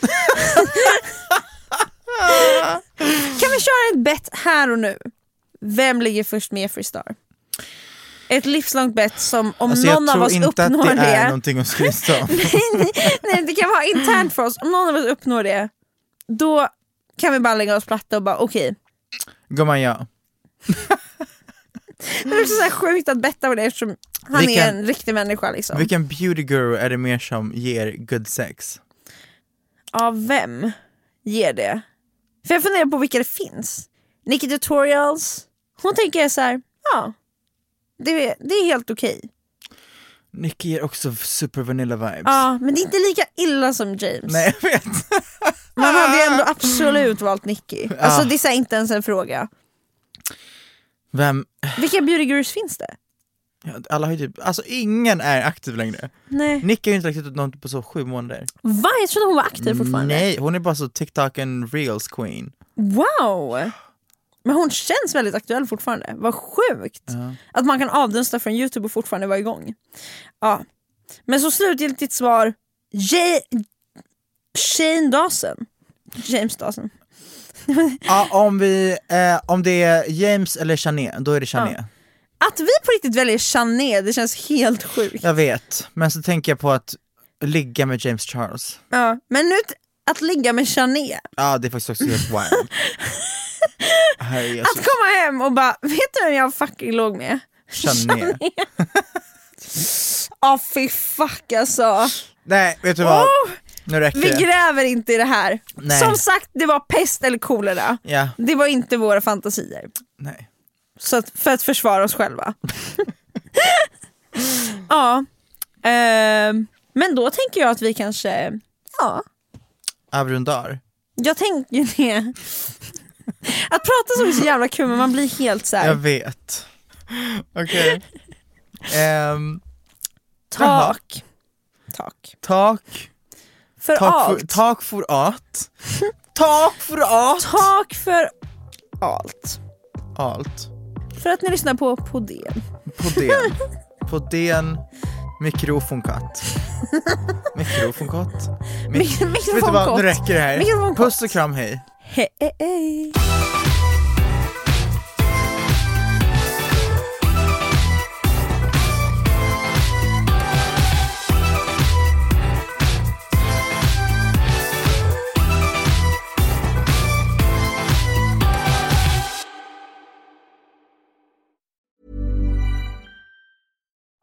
Speaker 2: kan vi köra ett bett här och nu? Vem ligger först med Jeffree Star? Ett livslångt bett som om
Speaker 3: Alltså,
Speaker 2: någon
Speaker 3: jag
Speaker 2: av
Speaker 3: tror
Speaker 2: oss
Speaker 3: inte att det
Speaker 2: uppnår
Speaker 3: är
Speaker 2: det.
Speaker 3: någonting att skryta om.
Speaker 2: (laughs) Nej, det kan vara internt för oss. Om någon av oss uppnår det, då kan vi bara lägga oss platta och bara okej.
Speaker 3: Gumman, ja.
Speaker 2: Men det är också så här sjukt att betta på det eftersom han
Speaker 3: Vilken-
Speaker 2: är en riktig människa liksom.
Speaker 3: Vilken beauty guru är det mer som ger good sex?
Speaker 2: Av vem ger det? För jag funderar på vilka det finns. Nicky Tutorials. Hon tänker så här, ja. Det, det är helt okej.
Speaker 3: Nicky ger också super vanilla vibes.
Speaker 2: Ja, men det är inte lika illa som James.
Speaker 3: Nej, jag vet.
Speaker 2: Man hade ju ändå absolut valt Nicky. Alltså det är så här, inte ens en fråga.
Speaker 3: Vem?
Speaker 2: Vilka beauty gurus finns det?
Speaker 3: Ja, Alla har ju typ, alltså ingen är aktiv längre.
Speaker 2: Nej.
Speaker 3: Nick har ju inte lagt ut något på så sju månader.
Speaker 2: Va? Jag trodde hon var aktiv fortfarande.
Speaker 3: Nej, hon är bara så TikTok and reels queen.
Speaker 2: Wow! Men hon känns väldigt aktuell fortfarande. Vad sjukt! Att man kan avdunsta från Youtube och fortfarande vara igång. Ja. Men så slutgiltigt svar, Ja- Shane Dawson. James Dawson.
Speaker 3: Ja, om, vi, eh, om det är James eller Chané, då är det Chané.
Speaker 2: Att vi på riktigt väljer Chané, det känns helt sjukt.
Speaker 3: Jag vet, men så tänker jag på att ligga med James Charles.
Speaker 2: Ja. Men nu, t- att ligga med Chané.
Speaker 3: Ja, det är faktiskt också
Speaker 2: (laughs)
Speaker 3: helt wild. Herre
Speaker 2: Att
Speaker 3: Jesus,
Speaker 2: komma hem och bara, vet du vem jag fucking låg med?
Speaker 3: Chané.
Speaker 2: Ja fy fuck alltså.
Speaker 3: Nej, vet du vad?
Speaker 2: Oh!
Speaker 3: Nu räcker
Speaker 2: Vi
Speaker 3: det.
Speaker 2: gräver inte i det här.
Speaker 3: Nej.
Speaker 2: Som sagt, det var pest eller kolera.
Speaker 3: Ja,
Speaker 2: Det var inte våra fantasier.
Speaker 3: nej.
Speaker 2: Så att, för att försvara oss
Speaker 3: (laughs)
Speaker 2: själva. ja. ehm, men då tänker jag att vi kanske... Ja,
Speaker 3: Avrundar.
Speaker 2: jag tänker det. Att prata så är så jävla kul men man blir helt så
Speaker 3: Jag
Speaker 2: här.
Speaker 3: vet. Okej. Ehm, jaha.
Speaker 2: Tak. Tak.
Speaker 3: tak.
Speaker 2: För
Speaker 3: Tak
Speaker 2: allt.
Speaker 3: för, tak för
Speaker 2: (laughs)
Speaker 3: at. Tak för at.
Speaker 2: tak för allt.
Speaker 3: Allt.
Speaker 2: För att ni lyssnar på Podén.
Speaker 3: På den. På den.
Speaker 2: (laughs)
Speaker 3: Mikrofonkatt. Mikrofonkatt. Mik-
Speaker 2: Mik-
Speaker 3: Vet du vad, nu räcker det här.
Speaker 2: Mikrofonkott.
Speaker 3: Puss och kram, hej.
Speaker 2: Hej, hej, hej.